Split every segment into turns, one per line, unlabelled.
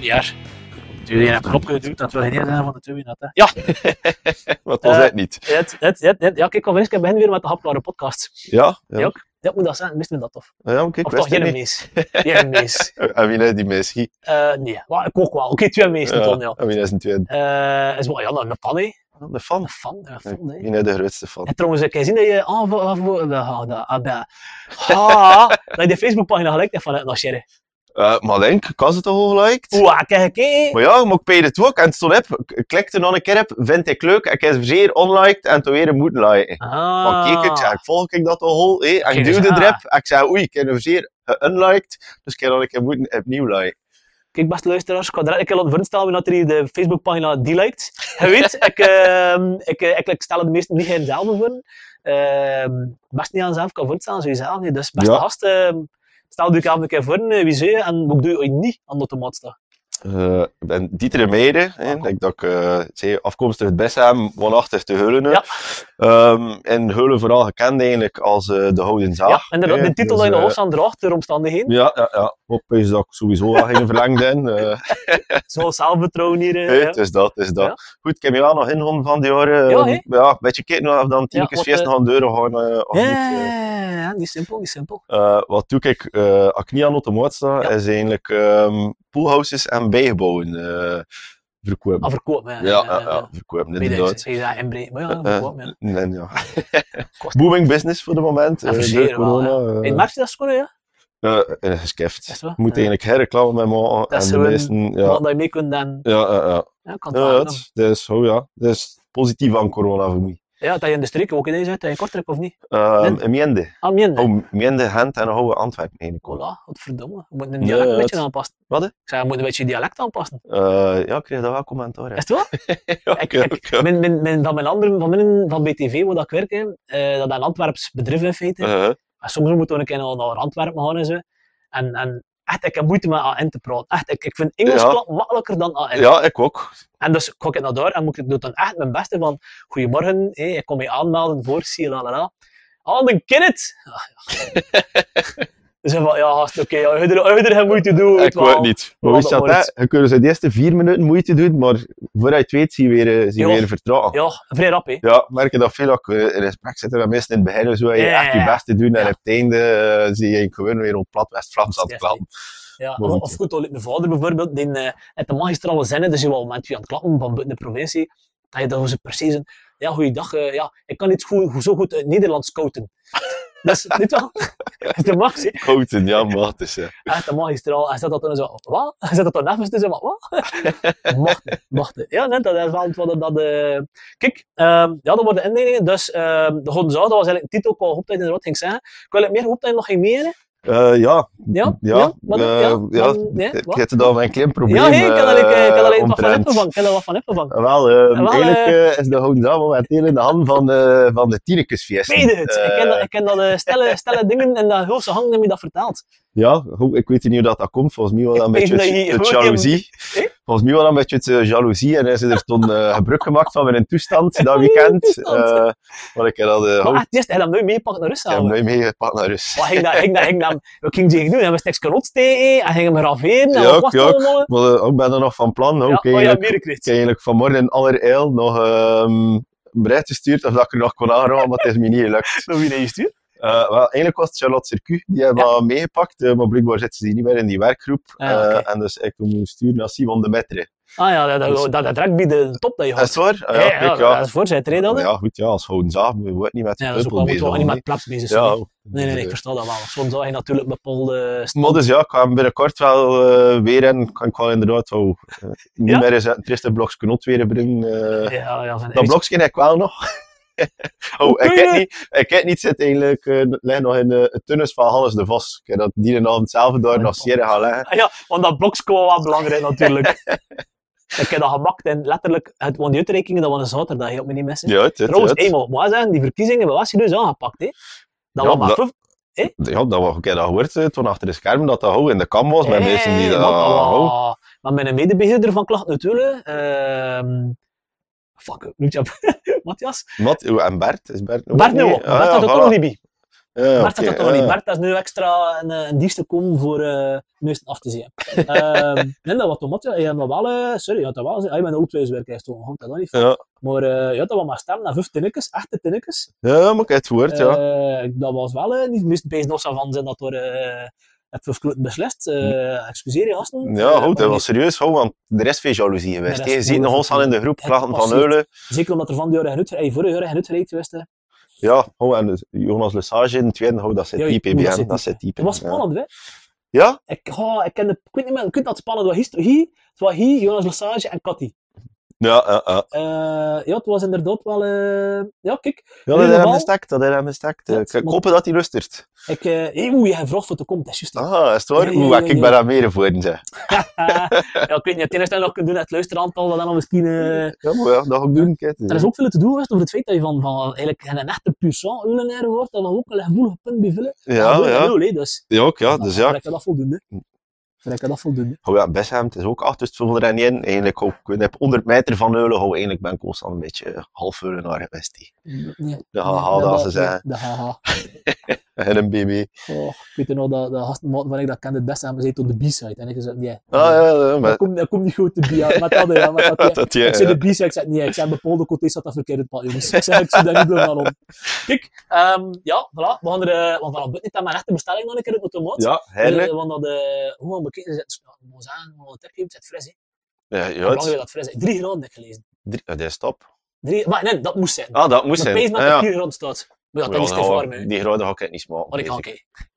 jaar. Iedereen hebt erop geduwd, dat wil je niet zijn van de twee. Hè. Ja,
Wat was
Eh,
het niet?
het, het, het, het. ja, kijk, al ik begin weer met de hapklare podcast.
Ja, ja. Ah,
Ja.
ja.
Dat moet dat zijn, wist men dat toch?
maar kijk,
Of toch
wist het
geen
niet.
mees? Geen mees.
En wie is die meisje?
Eh, nee, maar ik ook wel. Oké, twee mees,
Ja,
dan ja.
En wie is een tweede?
Eh, is wel, ja, nou, een fan, hè.
Ah, De fan.
Een fan, een fan, hè.
Wie is de grootste fan?
En trouwens, ik kan zien dat je ah, dat je de Facebookpagina gelijk hebt van het Nashere.
Eh, maar denk, ik had het toch al geliked?
Oeh, ah, kijk, gekeken.
Maar ja, maar ik paid het ook en het stond op. Ik klikte nog een keer op, vind ik leuk, ik heb zeer onliked en toen weer een moeten liken. Maar
Ah,
kijk, ik zei, volg ik dat al, hé, en
Kijk
ik
eens
duwde
aan.
erop. En ik zei, oei, ik heb hem zeer geunliked, dus ik heb nog een keer moeten opnieuw liken.
kijk, beste luisteraars, ik ga direct een keer laten voorstellen dat er hier de Facebookpagina die liked. Je weet, ik, ehm, ik, eh, ik, ik stel het meestal niet geen zelf voor. Ehm, best niet aan zelf kan voorstellen, sowieso zelf niet. Dus beste
Ja.
gast, ehm, stel je even een keer voor, eh, wie zei je, en wat doe je ooit niet aan de automaat staan?
Eh, ik ben Dieter Meijer, hè,
Ah,
ik denk dat ik eh, zeer afkomstig uit Bessem, woonachtig te Heulen.
Ja.
Ehm, en Heulen vooral gekend eigenlijk als eh, de Houden Zaag.
Ja, inderdaad,
hè,
de titel
dus,
die in de
eh,
hoofdstand draagt, door omstandigheden.
Ja, ja, ja. Hoop is dat ik sowieso wel geen verlengd ben. eh.
Zo zelfvertrouwen hier. eh,
Hé,
ja.
het is dat, het is dat.
Ja.
Goed, ik heb je wel nog ingehouden van die jaren.
Ja,
Ja,
hè?
ja, een beetje kijken of dan tien
Ja,
keer
want,
feest
eh,
nog aan de deuren gaan eh, of
Ja,
niet. eh.
ja, ja, die is simpel, die is simpel.
Eh, wat doe ik? eh als ik niet aan automaat sta,
Ja.
is eigenlijk ehm poolhouses en bijgebouwen eh, verkopen.
Ah, verkopen, ja.
ja, ja, ja, verkopen
Weet je,
inderdaad.
zeg je dat in breed, maar ja,
Eh,
verkopen, ja.
Nee, ja.
Kost-
Booming business voor de moment.
Ja,
eh,
voor
door
zeer wel,
corona. eh,
Hey, merk je dat schoenen, ja?
eh, eh, geskift.
Echt waar?
Je
Ja.
moet eigenlijk herreclame met maken.
Dat
En
is
de
wel-
meesten,
Ja.
ja.
Dat je mee kunt dan...
Ja, ja, ja.
Ja, kan het
Ja,
wel,
het, dus, oh ja, dat is positief aan corona voor mij.
hè. ja, dat je in de streek ook ineens uit, dat je kort hebt of niet.
Ehm
Nee.
en Miende.
Ah, min. Oh.
Oh, Miende, Gent en Houwe, Antwerpen eigenlijk ook.
Cola, wat verdomme. Je moet een
Nee,
dialect een
het-
beetje aanpassen.
Wat, hè?
Ik zei, je moet een beetje je dialect aanpassen.
Eh, ja, ik kreeg daar wel commentaar.
Is het wel? ik- ik- Mijn, mijn, mijn, van mijn andere, van mijn, van BTV, waar dat ik werk, hè, eh, dat is een Antwerps bedrijf in feite.
eh,
En soms moeten we een keer naar naar Antwerpen gaan en zo. En, en echt, ik heb moeite met AN te praten. Echt, ik, ik vind Engels
Ja.
klap makkelijker dan AN.
ja, ik ook.
En dus ga ik naar daar en moet ik, doe dan echt mijn beste van, goedemorgen, hé, ik kom je aanmelden voor, zie je, la la la. Ah, dan ken het! Ah, ja. dus ik van, ja, gast, oké, ja, je hebt er- je hebt er geen moeite doen.
ik
wel.
wou het niet. Maar wist je
dat
dat?
wordt.
hè? Je kunt dus de eerste vier minuten moeite doen, maar vooruit je het weet, zie je weer, eh, zie je
Ja.
weer vertrouwen. Ja.
Ja, vrij rap, hè.
merk je dat veel ook eh, in respect zitten met mensen in het begin en zo. En je
Ja,
echt je
ja, ja.
best te doen en
Ja.
op het einde eh, zie je gewoon weer op plat West-Frans aan het
Dat is
klappen.
Ja,
Maar
of,
goed,
of
ja.
goed, al mijn vader bijvoorbeeld, die eh heeft de magistrale zinnen, dus je wel met u aan het klappen van buiten de provincie, dat je dan zo precies een, ja, goeiedag, eh ja, ik kan niet goed, goed- zo goed uit Nederlands scouten. dat is niet wel, dat is de max, hè.
Kouten, ja, maar het is... eh,
Echt de magistraal. Hij zet Ah, dat dan zo, wat? Hij zet dat dan even tussen, maar wat? Mocht het, mocht het. Ja, net, dat is wel het wat dat... eh, Kijk, ehm, ja, dat worden inleidingen, dus ehm, de Gouden Zou, dat was eigenlijk een titel qua hooptijd en wat ging ik zeggen. Ik wil het meer hooptijd nog geen meer, hè?
eh, ja,
Ja?
Ja,
maar,
eh,
ja,
ja,
dan- nee,
ik
wat?
heb er dan mijn klein probleem.
Ja, hey, ik kan er ik, eh, ik kan er
eh,
wat van
omtrent.
opgevangen. Ik kan er wat van opgevangen.
Wel, ehm,
Wel, eh,
eigenlijk eh, is de Houden Zaal momenteel in de hand van, eh van de Tinekesfeest.
Ik weet het. Ik ken dat, ik ken dat eh, stelle, stelle dingen en dat hulse hangen en me dat vertaald.
Ja, goed, ik weet niet hoe dat, dat komt. Volgens mij was dat een
Ik
beetje
weet
het,
dat je
het
gewoon
jaloezie.
Eh?
Volgens mij was dat een beetje het eh, jaloezie. En is er toen eh, gebruik gemaakt van mijn toestand dat
Van mijn
weekend.
toestand.
Eh maar ik heb dat eh,
Maar
houden.
echt, eerst heb je dat nooit meegepakt naar
Ik heb
Rusland.
nooit meegepakt naar Rus.
Wat ging dat, ging dat, ging dat, wat ging die doen? Hij was niks rotsteken, hij ging hem raveren, en
Ja,
wat was
ja.
dat allemaal?
Maar eh, ik ben er nog van plan. Ook,
Ja, oh ja,
eigenlijk,
meerkreet.
ik heb eigenlijk vanmorgen in allerijl nog ehm, een bericht gestuurd of dat ik er nog kon aanraden, maar het is me niet gelukt.
Naar wie dat je stuurt?
Eh, wel, eigenlijk was het Charlotte Circuit, die hebben we meegepakt, eh, maar blijkbaar zitten ze niet meer in die werkgroep.
Ah, oké.
Eh, en dus ik moet sturen naar Simon de Metre.
Ah ja, dat, dat, dat, dat rugby, de top dat je
Is
had.
het waar? Ah,
Ja, ja,
kijk,
dat is voorzitter, hè, dat? hè?
Ja, goed, ja, als houden zaag, moet je ook niet met
Ja,
de
dat is ook
peuple
wel, moeten
bezig
we ook niet
gaan,
met plaats bezig
hè.
zijn.
Ja,
Nee, nee, nee, ik
eh,
versta dat wel. Soms zou je natuurlijk bepaalde... st-
Maar dus ja, ik ga hem binnenkort wel eh, weer in. Kan ik wel inderdaad wel, eh, niet
Ja?
meer eens uit het eerste blokje knot weer brengen. eh.
Ja, ja, van-
dat blokje heb ik wel nog. oh, ik
kun
heb
je?
niet, ik heb niet zit eigenlijk, eh, dat ligt nog in eh, het tunnels van Hannes de Vos. Ik heb dat die een avond zelf daar
Oh,
nog
ja.
zeer gaan leggen.
Ah Ja, want dat blokscore was belangrijk natuurlijk. ik heb dat gemaakt en letterlijk, het want die uitrekeningen, dat was een zaterdag, heel me niet missen.
Ja, het, het,
Trouwens,
het.
eenmaal, maar zeggen, die verkiezingen was je dus aangepakt, hè? Dat
Ja,
was maar
dat-
proef-
Ja, dat was, ik heb dat gehoord eh, toen achter de schermen dat dat hou in de kam was. Met
Hey,
mensen die
wat
dat
dat
hou.
was. Maar mijn medebeheerder van klacht natuurlijk, ehm fuck, noemt je Matthias?
Wat? En Bert? Is Bert nog
Bart
niet?
Nouwen,
Ah,
Bart
ja,
had het
voilà.
ook nog niet bij.
Ja,
Bart
oké,
had
eh.
dat toch
ja.
niet. Bart is nu extra een, eh, een dienst te komen voor eh muisten af te zien. Ehm nee, dat was toch mot, ja. Je hebt nog wel, eh, sorry, je had dat wel gezien. Ah, Je bent ook twee werkers toen, dat nog niet.
Ja.
Maar eh je had dat wel maar staan naar vijf tinnetjes, echte tinnetjes.
Ja, maar ik heb het woord, ja.
Eh, dat was wel eh, niet meest bezig nog zo van zijn dat door eh het verkloten beslist. Eh excuseer je gasten. Eh,
Ja, goed,
maar
dat was serieus, hoor, want er is veel jaloezie geweest.
dat
hè.
is
Je ziet nog
gewoon
ons al in de groep,
het
klachten van
passeert.
Eulen.
Zeker omdat er van die jaren genoeg, eh, vorige jaren genoeg gereden geweest. hè.
Ja, oh, en dus Jonas Lesage in het tweede, oh, dat zit
Ja,
diep, hè,
oeh, dat
BN,
zit
dat
diep,
zit diep.
Het was
hè.
spannend, hè.
Ja?
Ik, oh, ik, ken de, ik weet niet meer, ik weet dat het spannend was. Hier, hier, het was hier Jonas Lassage en Cathy.
Ja, ja, ja.
Eh, ja, het was inderdaad wel... eh, ja, kijk.
Ja,
In
dat
ieder
is hem
geval-
gestakt, dat is hem gestakt. eh.
Ja,
Ik ik
maar-
hoop dat hij lustert.
Ik, eh hey, oeh, jij vraagt voor te komen, dat is juist.
Ah, is het waar?
Ja, ja,
Oeh,
ja,
ik ben
ja.
daar meer voor, zeg.
Eh, ja, ik weet niet, het enige dat je nog kunt doen is het luisteraantal, dat dan misschien... eh,
Ja, maar ja, dat ga ik doen, kijk.
er is ook veel te doen geweest over het feit dat je van, van eigenlijk een echte puissant ulenair wordt, dat we ook een gevoelig punt bij vullen.
Ja,
dat
ja.
Nul, hè, dus,
Ja, ook, ja, dus ja.
Ik dat voldoende. Vind ik dat voldoende.
Oh ja, Bessem, het is ook achter het viel er niet in. Eigenlijk ook, ik weet niet, op 100 meter van Eulen hou eigenlijk ben ik constant een beetje eh, half Eulen naar geweest. hè.
Nee,
De haha, ah, dat ze zeggen.
De haha.
En een BB.
Oh, ik weet nog dat, dat gasten van ik dat kende het beste hebben, ze tot de B-side. En ik zei, nee.
Ah, ja, ja,
dat,
maar...
komt, dat komt niet goed, de B. Ja, met dat, ja, met dat, ja.
Dat, ja,
ik zei
ja.
de B-side, ik zei, nee, ik zei, bepaalde côté zat dat verkeerd in het pad, jongens. Ik zei, ik zie daar niet blauw van om. Kijk, ehm, ja, voilà, we gaan er, eh, want we hebben niet aan mijn echte bestelling nog een keer op de motor.
Ja, heerlijk.
want dat, eh, hoe gaan we bekeken, zet, moet aan, hoe het tipje, zet fris, hè.
Ja, ja,
Hoe lang
het-
wil dat fris, hè. Drie graden heb ik gelezen.
drie- ah, dat is top.
Drie, maar nee, dat moest zijn.
Ah, dat moest
maar
zijn.
pees dat
Ah,
er
ja.
vier graden staat. Maar ja,
Ja,
dat is te
nou,
warm, hè.
Die rode ga ik niet smaken.
Maar ik kan
deze.
kijken.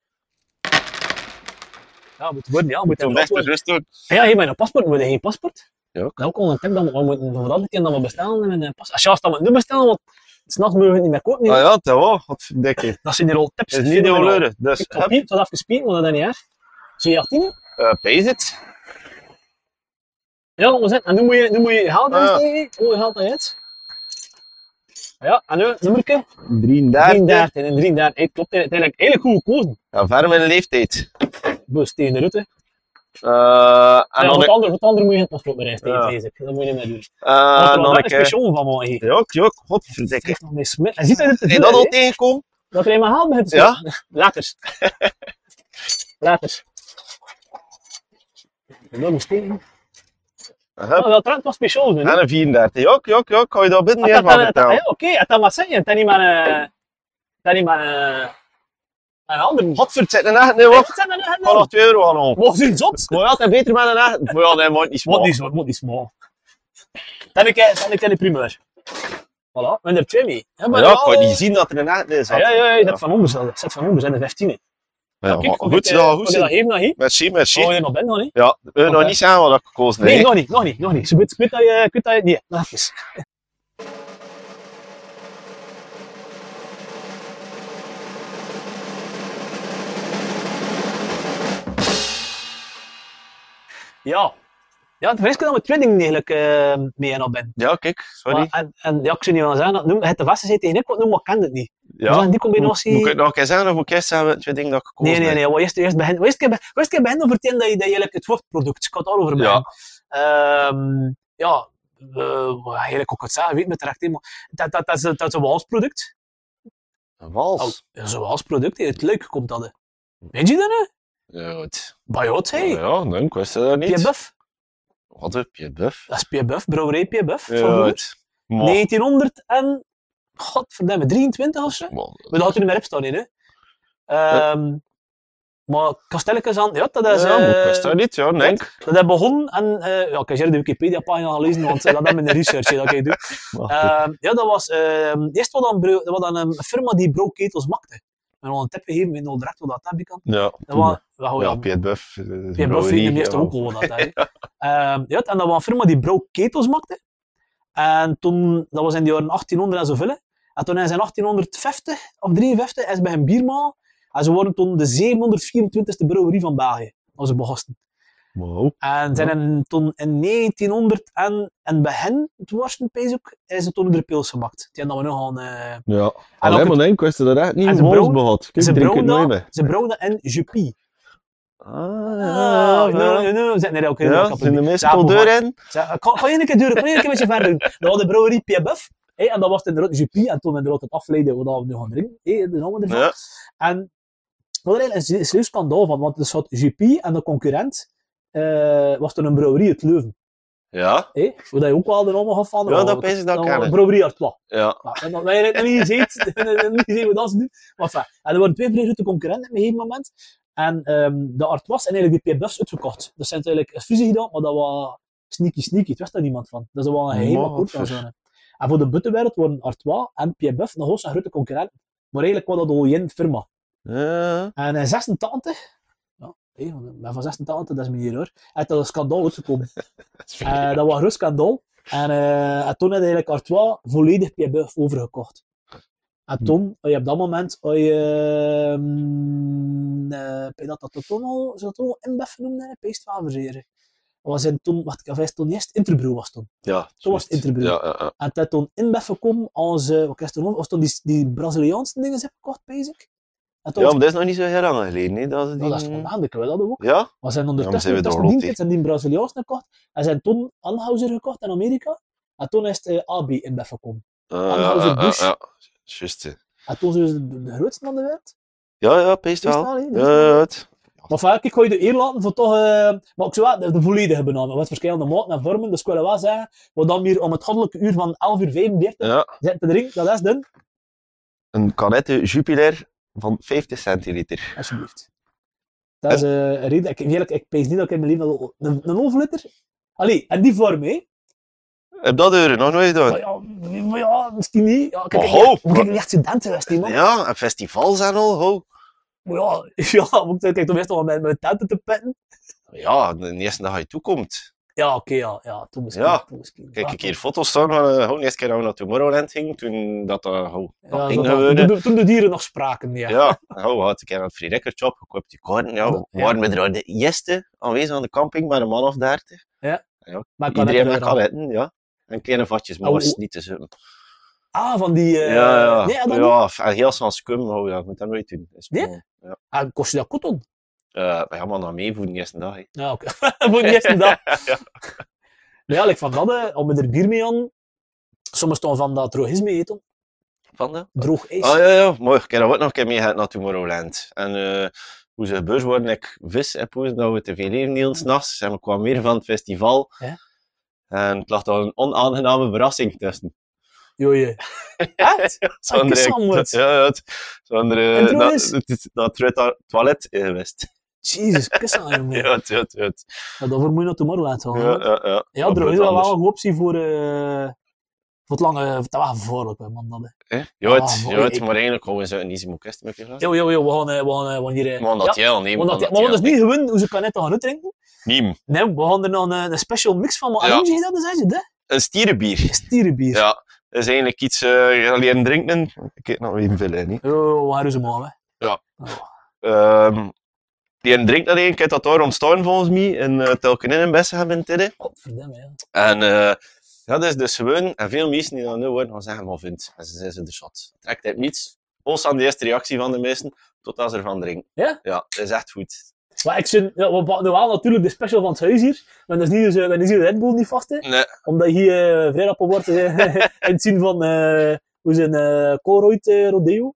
Ja, moet worden, ja, moet
Toen
worden.
best bewust doen.
Ja, hier mijn paspoort, moet je geen paspoort?
Ja.
Dat is ook al een tip, dan, we moeten voor dat keer dat we bestellen en een pas. Als je als dat moet nu bestellen, want s'nachts moeten we het niet meer kopen.
Ah
hè.
ja, dat wel. Wat dikke.
Dat zijn hier al tips.
Het is niet de
fenomenaal.
oleuren. Dus,
Ik
hup,
heb hier, het was afgespierd, maar dat is niet erg. Zie je 18?
eh, pees het.
Ja, dat moet zijn. En nu moet je, nu moet je je geld
Ah, ja.
insteken. Hoe je geld eruit? Ja, en nu, nummerke?
33.
33 en 33. Hey, klopt uiteindelijk. Eigenlijk goed gekozen.
Ja, ver mijn leeftijd.
Dus tegen de route.
Eh, en
En ja, voor,
dan ik...
het andere, voor het andere moet je geen paspoort meer rijden
Ja.
tegen deze. Dat moet je niet meer doen.
eh,
Uh,
en
dat
dan
is
ik... eh,
speciaal van mij hier.
Jok, jok.
Het
Godverdikke.
is nog niet smit. Hij ziet dat er te
Heb je
veel
dat al
in, hè?
tegengekomen?
Dat er eenmaal haal begint te
Ja?
smaken. Later. Later. Een enorme steen.
Hup.
Oh, dat trekt was speciaal. hè?
En een 34. Jok, jok, jok. Kan je daar binnen
Had
meer
Ah, dat
van
dan- had dat-
vertellen?
ja, Oké, had dat wat zeggen. Het is niet maar eh, het is niet maar eh, een ander. Wat
Godverd, zit een echt, nee, wacht.
is dat nou
Ik ga nog 2 euro aan om.
Wat is het zot?
Moet je altijd beter met een echt? Maar ja, nee, moet niet
Wat
smaken.
is wat? Wat is mooi. Dan heb ik dan heb ik de primeur. Voilà, we hebben er twee mee. Ja,
Maar ja, ik kan niet zien dat er een echt in
Ja,
zat.
Ah, ja, ja, je
Ja.
zet van onder, zelf. zet van onder, zijn er 15. hè.
Ja,
Kijk,
maar
kon
goed,
ik, eh,
dat
kon
goed
ik dat
zit.
geven nog niet?
Merci, merci.
Oh, je nog bent nog niet?
Ja, we hebben nog
Oké.
niet samen wat ik gekozen
Nee,
heb.
nog niet, nog niet, nog niet. Ze weet, ik weet dat je, ik weet dat je, nee, nog even. Ja. Ja, het vrees ik dat we twee dingen eigenlijk eh, mee aan op ben.
Ja, kijk, sorry.
Maar, en, en ja, ik zou niet wel zeggen, dat noem, het de vaste zit tegen ik, want noem, maar ik ken het niet.
Ja.
Dus die combinatie...
Moet ik het nog een keer zeggen of moet ik eerst zeggen twee dingen dat ik gekozen
Nee, nee,
heb?
nee. Wat eerst, eerst begin, wat eerst een keer be- wat eerst een keer beginnen over het een dat je, dat je eigenlijk het woordproduct, ik ga het daarover beginnen. Ehm, ja, eh, wat eigenlijk ook het zeggen, weet met terecht, hè, maar dat, dat, dat, is, dat is een Waals product.
Een
Oh,
wals.
dat is een Waals product, hè. het leuk komt dat. hè. Weet je dat nu?
Ja, goed.
Bayot, hé.
Ja, Ja, nee, ik wist dat
Pierre
niet.
Buff.
Wat heb je, buff?
Dat is Pierre Buff, brouwerij Pierre Buff. van
Ja,
vroeger.
goed.
1900 en... Godverdamme, 23 of zo? Maar dat had u niet meer op staan, hè. Ehm, Maar Kastelletjes aan... Ja, dat is...
Ja, maar ik
eh,
wist dat niet, ja, nee.
Dat heb begon en eh ja, ik heb hier de Wikipedia-pagina gelezen, want eh, dat heb ik in de research hè, dat ik doe. Eh, ja, dat was ehm eerst wat een, breu- wat een, een firma die broodketels maakte. En al een tip gegeven, weet nog direct wat dat heb ik kan.
Ja,
Dat was, oh ja,
ja,
ja,
Piet Buff. eh,
Pierre Buff
brouwerie,
de meeste
ja.
ook al wat dat. hè. Ehm, ja, en dat was een firma die broodketels maakte. En toen, dat was in de jaren 1800 en zoveel. hè. En toen is in 1850 of 53 is bij een biermaal. En ze worden toen de 724ste brouwerie van België. Dat ze begosten.
Wow.
En Eh, zijn in, toen in 1900 en, en bij hen, het worsten pees ook, is het toen onder de pils gemaakt. Die hebben dat we nog aan... eh
Ja.
ook
Alleen
het-
maar nee, ik wist dat echt niet.
en
Een
ze
wals
brouwen-
behad. Kijk,
ze
ik drink het nooit
brouwen
meer.
Ze brouwden en jupie.
Ah,
Ah, no, no,
ja.
no. Zet nee, oké.
Ja, zijn de meeste al deur in?
eh, Ga je een keer duren, ga je een keer met je verder doen. Dan hadden de Nou, brouwerie Pierre Buff. Hé, en dat was het inderdaad GP. En toen inderdaad het afleiden wat we nu gaan drinken. Hé, daar gaan we ervan.
Ja.
En wat er eigenlijk een serieus schandaal van, want er zat GP en de concurrent eh, was toen een brouwerie uit Leuven.
Ja,
Hé, waar dat je ook wel de naam gaf van.
ja dat pees ik dat
Een
kennen.
brouwerie uit Pla.
Ja.
Nou, en dan, wij hebben niet gezeten, niet gezien wat dat ze doen. Maar enfin, en er waren twee vrij grote concurrenten op een gegeven moment. En ehm, de Artois en eigenlijk die P-Bus uitverkocht. Dus ze hebben eigenlijk een fusie gedaan, maar dat was sneaky sneaky. Het wist daar niemand van. Dus Dat is wel een geheim akkoord van
Mother.
zo'n. eh. En voor de buttenwereld worden Artois en P-Bus nog eens een grote concurrenten. Maar eigenlijk was dat al één firma.
Ja.
En in 86, ja, hé, want ik ben van 86, dat is me hier hoor, heeft dat een schandaal uitgekomen.
Dat is
Eh,
vreemd.
dat was een groot schandaal. En, eh, en toen had eigenlijk Artois volledig PB overgekocht. En toen, eh, op dat moment, had je, ehm, eh, heb je dat, dat toen al, zou dat toen al InBev noemen? Peest wel verzeren. Was in toen, wacht, ik was toen eerst Interbrew was toen.
Ja,
Toen was het
juist.
interview.
Ja, ja, ja.
En toen had toen InBev gekomen als, eh, wat was toen, nog? was toen die, die Braziliaanse dingen heb gekocht, basic. En toen
ja,
was,
maar dat is nog niet zo heel lang geleden. hè, Dat ze
nou, dat is
die-
toch maanden, ik weet dat ook.
Ja?
Maar zijn ondertussen,
zijn we
ondertussen
doorloopt,
dienst en die Braziliaans gekocht. En zijn toen Anhauser gekocht in Amerika. En toen is het eh, AB in Beffen gekomen.
Ja, ja,
Anheuser
ja, ja,
Busch.
ja. Juist. hè.
En toen zijn ze de, de grootste van de wereld.
Ja, ja, peest
Is het
wel. eh,
wel, hè? Dus, eh,
Ja, ja, het.
Maar vaak, ik ga je de eer laten voor toch... eh, maar ik zou wel de, de volledige benaming. Wat verschillende maten en vormen. Dus ik wil wel zeggen, we dan hier om het goddelijke uur van 11 uur 45
Ja.
zitten te drinken. Dat is dan,
Een canette Jupiler van 50 centiliter.
alsjeblieft. Dat is eh, een reden. Ik, eerlijk, ik pees niet dat ik in mijn leven al- een, een halve liter... Allee, en die vorm, hè.
Heb dat er nog nooit gedaan?
Maar ja, maar ja, misschien niet. Ja, kijk, ik
Oho,
ik ben niet echt student geweest, hè, man.
Ja, en festivals en al. ho.
Maar ja, ja, moet ik kijk toch eerst nog met mijn tenten te petten?
Ja, de eerste dag dat je toekomt.
Ja, oké, ja, ja, toen misschien.
Ja.
toen misschien.
Kijk,
Ja,
ik hier foto's staan van eh, gewoon de eerste keer dat we naar Tomorrowland gingen. Toen dat eh, dat gewoon
ja,
nog
dat-
ging
dat-
gebeuren.
toen- Toen de dieren nog spraken, ja.
Ja, nou, we hadden een keer aan het Free Record Shop gekoopt die kaarten. Ja,
Ja.
we waren we er de eerste aanwezig aan de camping, maar een man of dertig.
Maar ik kan
Iedereen met
net weer aan.
kanetten, ja. En kleine vatjes, maar
Oh,
was
oh.
niet te zoeken.
Ah, van die... eh,
ja, ja.
Nee, dat niet.
ja, f- en heel snel scum, hou, dat moet dat nooit doen. Dat is
Ja?
gewoon-
Ah, kost je dat koton?
Eh, we gaan maar nog mee voor de eerste dag. hè.
Ja, oké. Voor de eerste dag. Maar ja, ik van dat, eh, om met er bier mee aan. Soms staan van dat drogisme eten.
Van dat?
Droog ijs.
Ah ja, ja, mooi. Ik heb dat ook nog een keer meegehad naar Tomorrowland. En eh, hoe ze beurs worden, ik vis heb hoe dat we te veel leven hielden s'nachts. En we kwamen weer van het festival.
Ja.
En het lag daar een onaangename verrassing tussen.
Joje. Echt?
Zo'n
Ah, Kissamwoord.
ja, ja, het- zo'n eh,
En toen
dat-
is-
het is- dat eruit dat toilet eh, geweest.
Jezus, kus aan, jongen.
Ja, het, ja, het, ja, het.
Ja, daarvoor moet je naar Tomorrowland
ja,
gaan. hè.
ja, ja.
Ja, droog
Dat
is
wordt
wel
anders.
wel een optie voor... eh, Voor het lange... Dat was gevaarlijk, hè, man. Dat, hè.
Eh? Ja, het,
Ah,
ja, het,
ik-
maar eigenlijk houden ze een easy moekest met je glas.
Yo, yo, yo, we gaan, eh, we gaan, eh, we gaan hier... eh,
Maar
ja,
dat jij al neemt.
we gaan dat- maar we gaan dus niet gewoon hoe ze kan net gaan uitdrinken. Nee, we gaan er nog een, een special mix van maken.
Ja.
Ja. Hoe zeg je dat? Dan zei ze, dat
Een stierenbier.
is stierenbier.
Ja, dat is eigenlijk iets eh alleen drinken. Ik heb nog even veel in. hè.
Oh, waar is hem aan, hè?
Ehm, die een drinkt dat één, ik heb dat daar ontstaan volgens mij. En uh, telken in een bessen hebben in Tidde.
Godverdomme, ja.
En eh, ja, dat is dus gewoon. En veel mensen die dat nu horen, gaan zeggen van vindt. En ze zijn ze de shot. Trekt uit niets. Post aan de eerste reactie van de meesten, totdat ze ervan drinken.
Ja?
Ja, dat is echt goed.
Maar ik vind, ja, we pakken nu wel natuurlijk de special van het huis hier. Maar dat is niet, dus, eh, dan is hier de Red Bull niet vast, hè.
Nee,
Omdat hier eh, vrij rap op wordt eh, in het zien van, eh, hoe zijn eh Colroyd eh, Rodeo.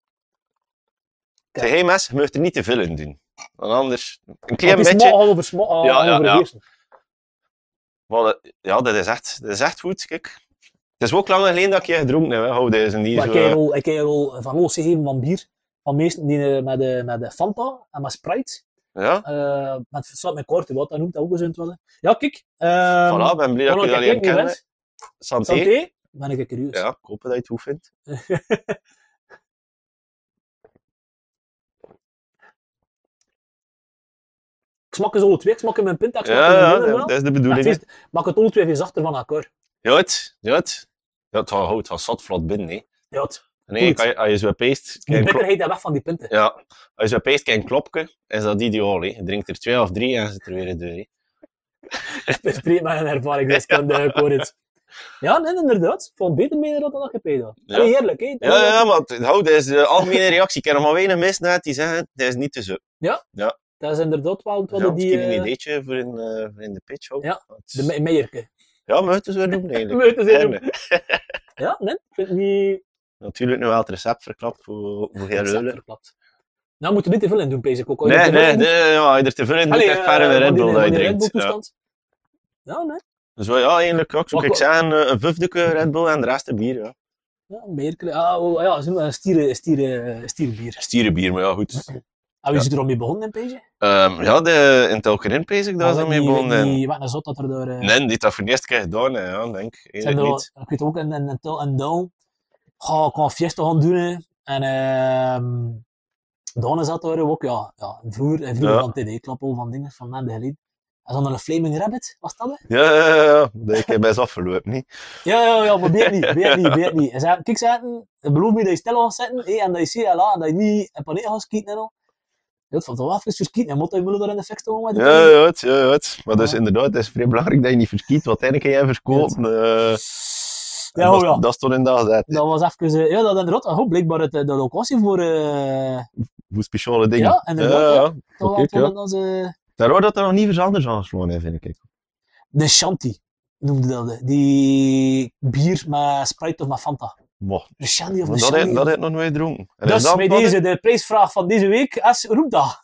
tegen hey, mensen, je mag er niet te veel in doen. Want anders, een klein
Want het is
beetje.
smal over smal, al
Ja, ja, ja.
overheersen.
Maar dat- ja, dat is, echt, dat is echt goed. Kijk. Het is ook lang geleden dat ik je gedronken heb. hè. Hou deze niet
Maar
zo,
ik heb
eh,
je al- ik heb je al van los gegeven van bier. Van meesten die eh, met, eh, met eh, Fanta en met Sprite.
Ja,
eh met, zat met korte wat, dat noemt dat ook eens in het wat, hè. Ja, kijk. ehm,
voilà, ben blij dat
Ronald,
je
jij
dat leren
klinkt niet
kennen.
bent.
Santé.
Santé. Ben ik curieus.
Ja, ik hoop dat je het goed vindt.
Ik smak eens alle twee. Ik smak in mijn pint. Ik
Ja,
smak in mijn
ja,
binnen,
dat
voilà.
dat is de
Maar het
bedoeling.
is- maak het alle twee even zachter van elkaar.
Ja, het, ja, het. Ja, het houdt het gaat zat vlot binnen, hè.
Ja, het,
Nee,
Goed.
als je, als je zo peest,
de
kijk, klop-
bitterheid daar weg van die pinten.
ja, als je zo peest, kijk, een klopje, is dat ideaal, hè. Je drinkt er twee of drie en zit er weer een deur, hè.
Ik spreek met een ervaringsdeskundige, ik hoor het. Ja, nee, inderdaad. Van beter meenemen dan dat je pedo.
Ja.
Allee, eerlijk, hè.
Ja, ja, ja, maar het, hou, dat is de algemene reactie. Ik ken nog maar weinig mensen net die zeggen, dat is niet te zo.
Dat is inderdaad wel het wat
Ja,
die...
misschien een
eh,
ideetje voor in, eh, voor in de pitch, hou.
ja,
Want-
de me- meierke.
Ja, moet het dus weer doen, eigenlijk.
Moet het eens weer
En,
doen.
eh,
Ja, nee? Vind je niet...
Natuurlijk nu wel het recept verklapt voor, voor heel
Recept
Ruller.
verklapt. Nou, moet je niet te veel in doen, pees ik ook. Hoor.
Nee,
Dat er
nee,
ook-
nee, ja, als je er te veel in doet,
Allee,
echt verre
eh,
een Red
van die-
Bull
van
dat je
die Red
drinkt.
Bull
Ja.
toestand. Ja, nee.
Dus wel, ja, eigenlijk ook, zou
Wat-
ik zeggen, eh, een vijfdeke Red Bull en de rest een bier, ja.
Ja, Merkel. Ah, oh, ja, ze noemen stieren, stieren, stierenbier.
Stierenbier, maar ja, goed.
En wie
Ja.
is er al mee begonnen in Peesje?
Ehm, ja, de, in het Alkerin pees ik daar zo mee begonnen.
Die wat een zot dat er door... eh,
Nee, die heeft dat voor de eerste keer gedaan, hè, ja, denk ik.
zijn er
Eigenlijk
wel-
niet.
ik weet ook, en, en, en, Tel- en Dal. Ga ik een fiesta gaan doen. hè. En ehm Donne zat daar ook, ja. ja een vroeger, een vroeger
Ja.
van TD-klap, al van dingen, van maanden geleden. En ze hadden een Flaming Rabbit, was dat hè?
Ja, ja, ja, ja, dat ik heb best afgelopen, niet?
Ja, ja, ja, probeer het niet, probeer het niet, probeer het niet. En ze hebben kiks zetten, beloof me dat je stil gaat zitten, hé, en dat je CLA, en dat je niet in paniek gaat schieten en al. Ja, het valt wel even verschieten, en moet je moeder daar in de fik staan met de
Ja,
pijn.
ja, het, ja, het. Maar dus
Ja.
inderdaad, het is vrij belangrijk dat je niet verkiet, want eigenlijk kan jij verkopen. eh,
Ja,
dat,
oh ja.
dat is toch in de gezet.
Dat was even, eh, ja, dat inderdaad, en goed, blijkbaar het, eh, de locatie voor, eh
Hoe speciale dingen.
Ja, inderdaad, ja. toch wel
Oké,
van
ja.
dat onze-
Daardoor dat er nog niet veel anders aangesloten is, vind ik.
de Shanti noemde dat, eh, die bier met Sprite of met Fanta.
Mocht.
De Shanti of de
Dat heb
Shanti.
dat heb ik nog nooit gedronken. En
Dat
is
is bij
wat, hè?
deze de prijsvraag van deze week, is roep dat.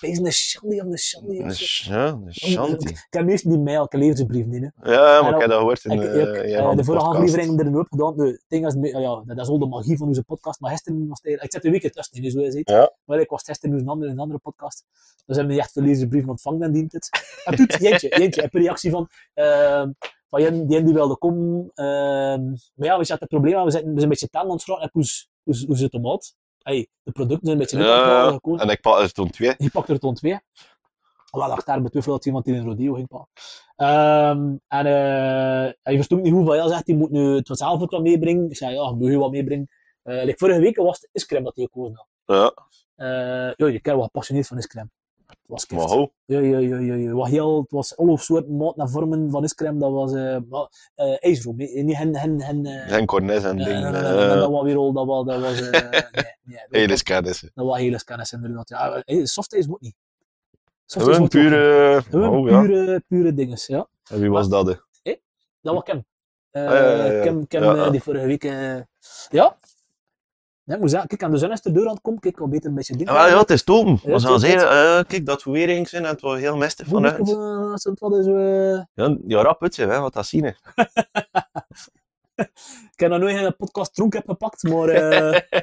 Wees een Shanti of de Shanti. of
Een
zo.
sh- Ja, een shanty.
Ik heb eerst die mail, ik heb levensbrief niet. Hè.
Ja, maar
En
ik heb dat gehoord in
Ik,
eh,
ik,
een
eh,
van
de vorige
podcasts.
aflevering er nu op gedaan. Nu, het ding is, me- ja, dat is al de magie van onze podcast. Maar gisteren was het eigenlijk- ik zit een weekje tussen, dus zo is het.
Ja.
Maar ik was gisteren in een andere, in een andere podcast. Dus hebben we echt veel lezersbrieven ontvangen en dient het. En doet, jeentje, jeentje. Ik heb een reactie van, ehm van Jen, die, die wilde komen. ehm maar ja, we zaten het probleem aan, we zijn, we zijn een beetje taal aan het schrokken. Hoe, is- hoe, is- hoe zit het maat? Hey, de producten zijn een beetje
Ja, ja,
niet
ja.
gekozen.
En ik pak er toen twee.
Die pakte er toen twee. Wel lag daar betwijfeld dat iemand die in een rodeo ging pakken. Ehm, en eh, hij verstond niet hoeveel. Hij zegt, hij moet nu het vanzelf ook wat meebrengen. Ik zei, ja, moet je wat meebrengen. Eh, like vorige week was het iscrem dat hij gekozen had.
Ja,
Eh ja, je kent wel gepassioneerd van iscrem. Het was
maar
kift.
ho.
Ja, ja, ja, ja, ja. Wat heel, het was alle soorten maat en vormen van iscrem. Dat was eh wel, eh, ijsroom. hè. Niet hen, hen, hen... eh,
Zijn cornes en
eh,
dingen.
eh, eh,
eh,
dat was weer al, dat was, dat was, eh, nee, nee, dat
Hele
was-
scannissen.
dat was hele kennis inderdaad. Ja, eh, softijs moet niet. Softijs
Gewoon
moet ook niet.
pure...
Gewoon
Oh ja.
pure, pure dinges, ja.
En wie was dat? hè?
Dat was Kim. Eh,
Ah, ja, ja, ja.
Kim, Kim
Ja,
eh,
ja.
die vorige week... eh, ja. Nee, ik moet zeggen, kijk, aan de zon is de deur aan het komen, kijk, al beter een beetje ding.
Ah, Ja, wel, ja, het is Tom.
Ja,
We
het
gaan
is
zeggen, eh, kijk, dat we weer ging zijn en het was heel mestig
Voel ik
vanuit.
even, eh, als het wat is, eh,
Ja, ja rap het, hè, wat dat zien. hè.
Ik heb nog nooit een podcast dronk heb gepakt, maar... eh,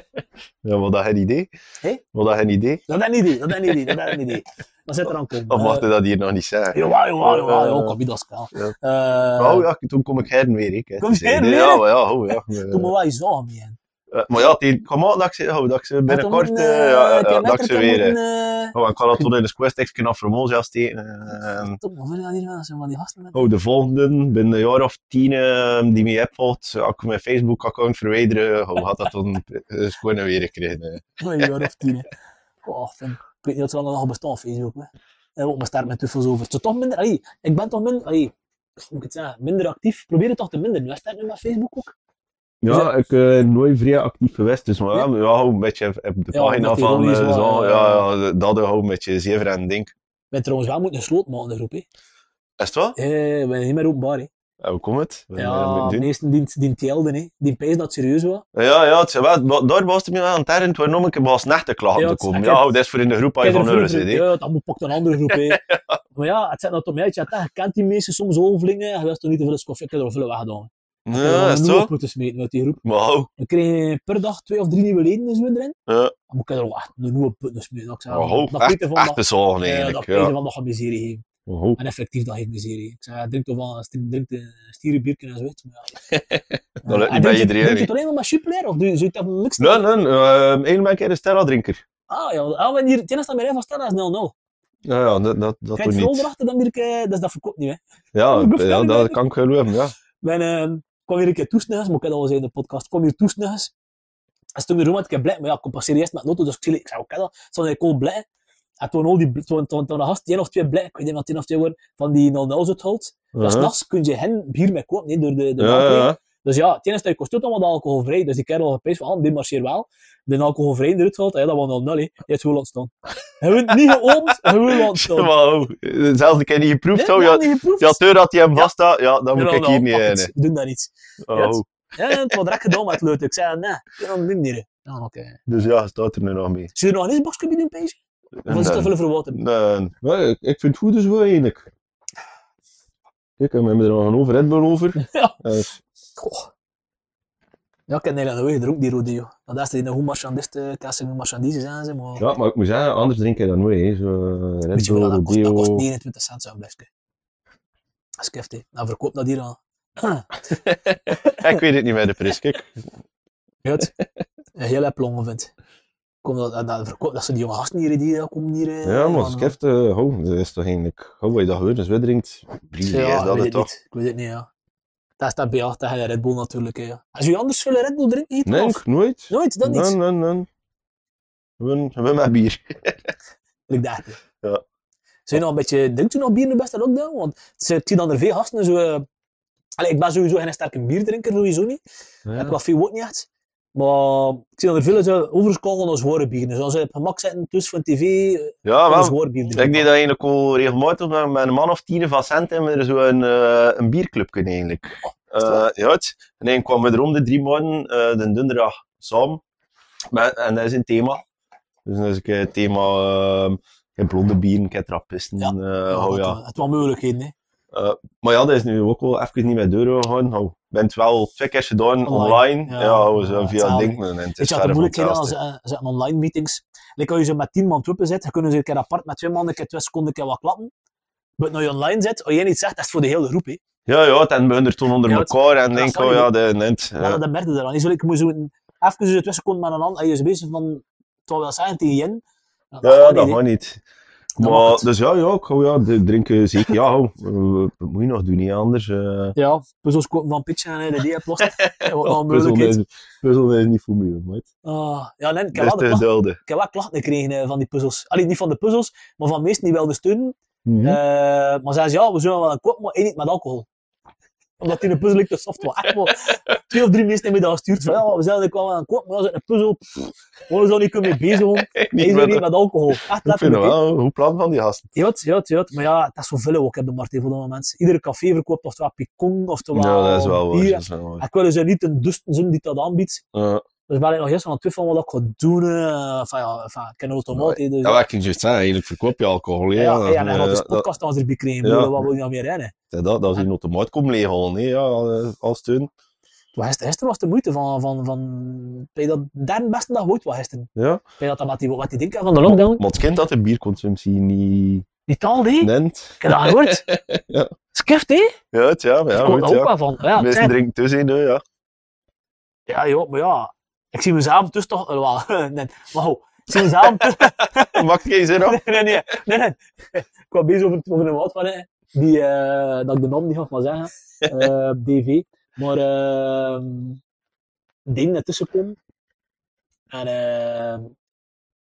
Ja, wat dat geen idee.
Hé?
Wat dat geen idee.
dat is niet idee, dat is niet idee, dat is niet idee. Dat zit er aan komen.
Of
Eh,
mag je dat hier nog niet zeggen?
Jawel, jawel, jawel,
Oh, Eh,
ja, kom niet, dat is wel.
ja.
Eh,
Oh ja, toen kom ik heren weer. Ik, hè,
Kom je
te zeggen.
heren
Ja,
weer?
maar ja, oh, ja. Eh,
Doe me wel eens zorgen mee, hè.
eh, Maar ja, die, kom op, dat ik ze, oh, dat ik ze
Want dan
binnenkort...
moet,
eh,
eh,
ja, ja,
ik
ja,
heb
dat ik ze
letterlijk
weer...
moeten,
eh,
eh,
Oh, en ik kan dat tot in de square stickje naar Formosa steken. eh,
Top, maar wil je dat hier wel zo van die gasten met?
Oh, de volgende, binnen een jaar of tien eh, die mij opvolgt, als ik mijn Facebook-account verwijderen, hoe gaat dat dan eh, schone weer krijgen? eh.
Oh, een jaar of tien. hè. Goh, vind- ik weet niet of ze wel nog bestaan op Facebook. Hè. En ook maar start met twijfels over. Het is toch minder, allee, ik ben toch minder, allee, hoe moet ik het zeggen, minder actief. Probeer het toch te minderen. Wij starten nu met Facebook ook.
Ja, ik ben nooit vrij actief geweest, dus maar ja, ja, hou een beetje op op de
Ja,
pagina
omdat die
van
rol
eh,
is wel,
zo,
eh,
ja, ja, dat hou een beetje zever en ding.
We hebben trouwens wel moeten een sloot maken in de groep. Hè.
Is het wel?
Eh, we zijn niet meer openbaar. Hè.
Ja, hoe komt het? Wat hebben we
Ja, de
moeten doen?
meesten die, die het jelden, hè. die pees dat het serieus was.
ja, ja, het is wel, maar daar was het me wel aan het herinneren, het waren nog een keer bij ons naar te klagen
Ja,
te
het-
komen.
ik
Ja,
heb-
hou, dat is voor in de groep als je
Kijk,
van
er
Euren
vroeger-
zit, hè.
Ja, dat moet pakt een andere groep. hè. Maar ja, het zit nou toch mij uit. Je had dat gekend die mensen soms overvlingen. Je wist toch niet hoeveel koffie ik heb er veel weggedaan.
Ja, is het
nu
zo?
ook moeten smeten uit die groep.
Maar hou,
We kregen per dag twee of drie nieuwe leden en zo erin.
ja,
Dan moet ik er ook echt een nieuwe put dus mee. Ik zei,
maar hou,
dat
echt-
weet je van
echt
dat,
bezorgen
eh, dat
eigenlijk,
weet je
ja.
van dat gaat miserie geven.
Maar hou.
En effectief, dat geeft miserie. Ik zei, drink toch wel een sti- drink een stierenbiertje en zo. weet je, Maar ja.
Dat lukt
En
niet bij
drink je-
iedereen,
Drink je
hè.
het alleen maar met supleer? Of doe je- zou je dat mixen?
Nee, nee, eh, één ben ik een Stella-drinker.
Ah ja, ah, maar hier, het enige dat mij van Stella is 0-0.
Ja, ja, dat, dat, dat
Kijk, het
doe
vooral
niet.
erachter, dan ben ik, eh, dat is dat verkoopt niet. Hè.
Ja,
Ik hoef
ja
dat niet
dat
meer.
kan ik geloven, ja.
Mijn, ehm, ik kwam hier een keer toesnuggens, maar ik had al gezegd in de podcast, ik kwam hier toesnuggens. En toen weer ik heb blij, maar ja, ik kom passeer eerst met een auto, dus ik zei, ik zei, oké dat, stond ik al blij. En toen al die, toen, toen, toen, de gast, één of twee blij, ik weet niet wat één of twee worden, van die 0-0 zo houdt. Dat
Uh-huh.
s'nachts kun je hen bier mee kopen, niet door de, de
Ja,
melkweg.
ja.
Dus ja, het enige dat je kost doet, dan wat alcoholvrij. Dus die kerel gepijst van, ah, die marcheert wel. De alcoholvrij in de rut valt, ja, dat was 0-0, hè. Je hebt gewoon ontstaan. Je wordt niet geoond, gewoon
Maar,
ontstaan.
oh, zelfs een keer niet geproefd,
Dit
zo.
had
Ja,
niet geproefd.
ja, deur dat hij hem vast had, ja, dan moet ik
Nul-nul,
hier niet eh,
pak
in.
het, Doe dat niet.
hè.
Ja,
Oh,
het- Ja, het wordt direct gedaan met leut. Ik zei, "Ah, nee, ik kan het niet dieren. Ja, Ah, oké.
Dus ja, staat er nu nog mee.
Zullen we nog een boskje doen, Peesje? Of is het te
Dan-
veel verwater?
Nee, nee, ik, ik vind het goed, dus wel enig. Kijk, en we hebben er nog een over Red Bull over.
Ja.
Eh,
Goh. Ja, ik ken Nederland Wegen er ook die rode, joh. Dat is die een goed marchandist, eh, kan ze een marchandise zijn, ze, maar...
ja, maar ik moet zeggen, anders drink je dan mee. hè. Zo, eh, Red
Weet je
Bull,
hoeveel dat kost? Dat
Rodeo.
kost 29 cent zo'n flesje. Dat is heftig. Dan verkoop dat hier aan.
Ik weet het niet bij de prijs, kijk.
Goed. Een heel heb longen vindt. Kom dat, dat, dat, verkoop, dat zijn die jonge gasten hier die eh, komen hier. eh,
Ja, maar
van-
als ik heb eh, oh, dat is toch eigenlijk... Oh, wat je dat gebeurt, dus we drinkt. Wie
Ja,
is
ik
dat
weet
het
het
toch?
niet. Ik weet het niet, ja. Dat is dat bij jou, dat je Red Bull natuurlijk. hè, Ja. Als je anders veel Red Bull drinkt, niet?
Nee,
of?
nooit.
Nooit, dat niet.
Nee, nee, nee. We hebben maar bier.
Ik dacht het.
Ja.
Zijn nog een beetje, drinkt u nog bier in de beste lockdown? Want het zit- ik zie dan er veel gasten zo... eh, Allee, ik ben sowieso geen sterke bierdrinker, sowieso niet. Ik
Ja.
was veel ook niet echt. Maar ik zie dat er veel eh, zo overschakelen als zware bier. Dus als ze op gemak zitten tussen van tv, eh,
Ja,
kan een
Ah, wel.
zware bier
Ik
drinken.
deed dat eigenlijk al regelmatig met met een man of tien van cent en we er zo een, eh, een bierclub kunnen eigenlijk.
is het
Eh, ja, het- en dan kwamen we er om de drie maanden, eh, de donderdag, samen. Met, en dat is een thema. Dus dat is een keer het thema, ehm ik heb blonde bieren, ik heb trappisten.
Ja.
eh,
Ja,
oh,
het,
ja.
wa- Het was moeilijkheden, hè.
Maar ja, dat is nu ook wel even niet met deuren gegaan. Nou, ik ben het wel twee keer gedaan,
Online.
online.
Ja.
Ja, we zijn
Ja,
via
hetzelfde.
Dinkman. en het
Weet
is
je wat de
verre van
moeilijkheid
hetzelfde.
als, eh, als aan online meetings? Like als je ze met tien man troepen zit, dan kunnen ze een keer apart met twee man, een keer twee seconden, een keer wat klappen. Maar als je online zit, als jij niet zegt, dat is voor de hele groep. Hè.
Ja, ja, dan begon er toen onder
Ja, het-
elkaar en
ja,
denk,
sorry,
oh ja,
maar-
dat neemt.
Dat, dat merkte je eraan. Je zult- Ik moet zo een- even zo twee seconden met een hand, en je is bezig van, terwijl we zeggen tegen Jen. Nou,
Ja,
gaat
dat
niet, hè.
gaat niet.
Dan mag
maar,
het.
dus ja, ja, ik hou, ja, d- drinken zeker. Ja, hou, eh, wat moet je nog doen, niet anders.
Oh,
eh
Ja, puzzels kopen van pitchen en eh, die heb lost. Wat een
puzzel,
moeilijkheid.
is, puzzel is niet voor mij, maat.
Ah, ja, nee, ik heb
Dat is
wel de
te
klacht-
dulden.
ik heb wel klachten gekregen eh, van die puzzels. Allee, niet van de puzzels, maar van mensen die wilden steunen.
Mhm.
Eh, maar zeiden ze, ja, we zullen wel een kop, maar één niet met alcohol. Omdat die een puzzel ik de software. Echt maar twee of drie mensen hebben dat gestuurd. Van, ja, we zullen wel wel een kop, maar als het een puzzel, pff, we zijn niet kunnen bezig om.
niet
Eén
met-
niet met alcohol. Echt
Ik vind het
letterlijk. hè.
wel een goed plan van die gasten.
Ja, ja, ja. Maar ja, dat is zoveel ook op de markt hè, voor dat moment. Iedere café verkoopt oftewel picon, oftewel
ja, dat is wel waar.
bier.
dat is wel waar.
Ik wil ze niet een dusten zijn die dat aanbiedt.
Ja.
Dus ben ik nog eerst aan het twijfelen wat ik ga doen. eh, Van ja, van, ik ken een automaat. hè, Dus,
Ja, wat ik je juist zeggen, eigenlijk verkoop je alcohol.
ja,
hè,
ja, en
eh,
een gratis
dat-
podcast als erbij krijgen. Ik
Ja.
bedoel, Wat wil je nou meer rennen?
dat, dat, dat is een automaat komen leeghalen, hè, ja, eh, als steun.
Maar gister- Gisteren was de moeite van, van, van bij dat derde beste dag ooit was gisteren.
Ja.
Bij dat dat met die, wat die denken van de lockdown.
Maar het kind dat de bierconsumptie niet
Die taal die, ik
neemt.
heb dat gehoord.
Ja.
Skift hé, ik
Ja, het, ja, maar ja,
kom
goed,
er ook
ja.
wel van. Ja,
Mensen
het-
drinken tussen, hè, ja.
ja joh, maar ja. Ik zie mezelf dus toch, eh, wel, nee, maar goed. Ik zie mezelf dus
Maakt geen zin op.
nee, nee, nee, nee, nee. Ik was bezig over, over een maat van hè, die, eh, dat ik de naam niet mag maar zeggen, eh, DV. Maar eh, een ding ertussen kwam. En eh,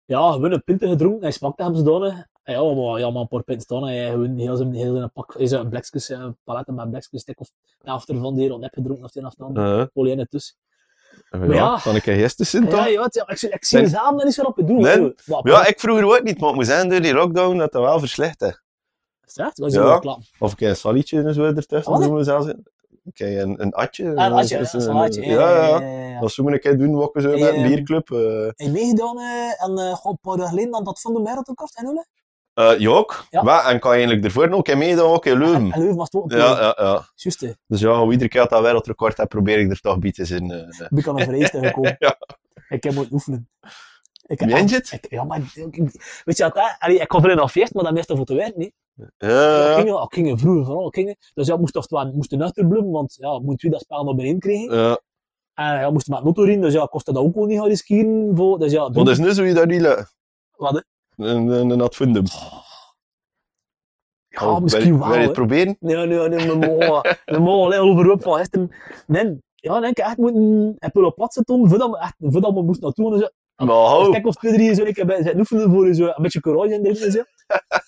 ja, gewoon een pinten gedronken, hij smakte hem zodanig. En ja, maar, ja, maar een paar pinten staan, hij gewoon heel zijn, heel zijn pak, is een blikjes, een paletten met blikjes, stuk of de helft ervan die hij rond heb gedronken, of de helft dan,
Eh.
folie in het tussen.
Ja,
ja.
kan ik er gisteren zien, toch?
Ja,
Ja,
ja, het- ja, ik, zie- ik zie
Nee.
mezelf daar niet zo op het doen.
Nee.
hè. Maar,
ik vroeger ook niet, maar het moet zijn door die lockdown dat dat wel verslechtte.
Echt? Dat is een
Ja.
goede klap.
Of ik een salietje en zo ertussen
Wat?
doen we zelfs. Ik een, een atje.
Ah, een
eh,
latje,
is-
een
is-
latje.
Ja, ja, ja.
ja.
Dat zullen we een keer doen, wat we zo met een
Eh,
bierclub. eh
En meegedaan eh, en eh, goh, een paar jaar geleden aan dat van de Mereltekort en Ulle.
eh, Jok,
Ja.
wat? en kan je eigenlijk ervoor nog een keer meedoen, ook in
En
Leuven.
Leuven was het ook.
Mm. Ja,
Ja,
ja, ja.
Juist, eh,
Dus ja, hoe iedere keer dat wereldrecord heb, probeer ik er toch bij te zijn. eh.
ik ben aan een vereiste gekomen.
Ja.
Ik heb moeten oefenen. Ik
Meen je het?
ik, ja, maar ik- ik- weet je wat, dat- allee, ik kon veel nog feest, maar dat meestal voor te werken. hè. Ik
Ja,
ging, ik ging vroeger vooral, ik ging, dus ja, ik moest toch wel, moest een achterbloem, want ja, moet wie dat spel nog beneden krijgen.
ja.
En ja, moest met auto rijden, dus ja, kostte dat ook wel niet gaan riskeren. Voor, dus ja,
Wat is nu zo je dat niet lukt?
Wat, hè?
Een, een, een advendum.
ja,
Oh, wil-
misschien
wil
wel.
je
hè.
het proberen?
Nee, nee, nee, we mogen, we mogen alleen overhoop van gisteren. Nee, ja, denk ik echt moeten een pull op plat zetten, voordat we, echt, voordat we moesten naartoe. en Zo.
Maar
Een
hou.
stuk of twee, drie, zo, ik heb zitten oefenen voor zo, een beetje courage in erin en zo.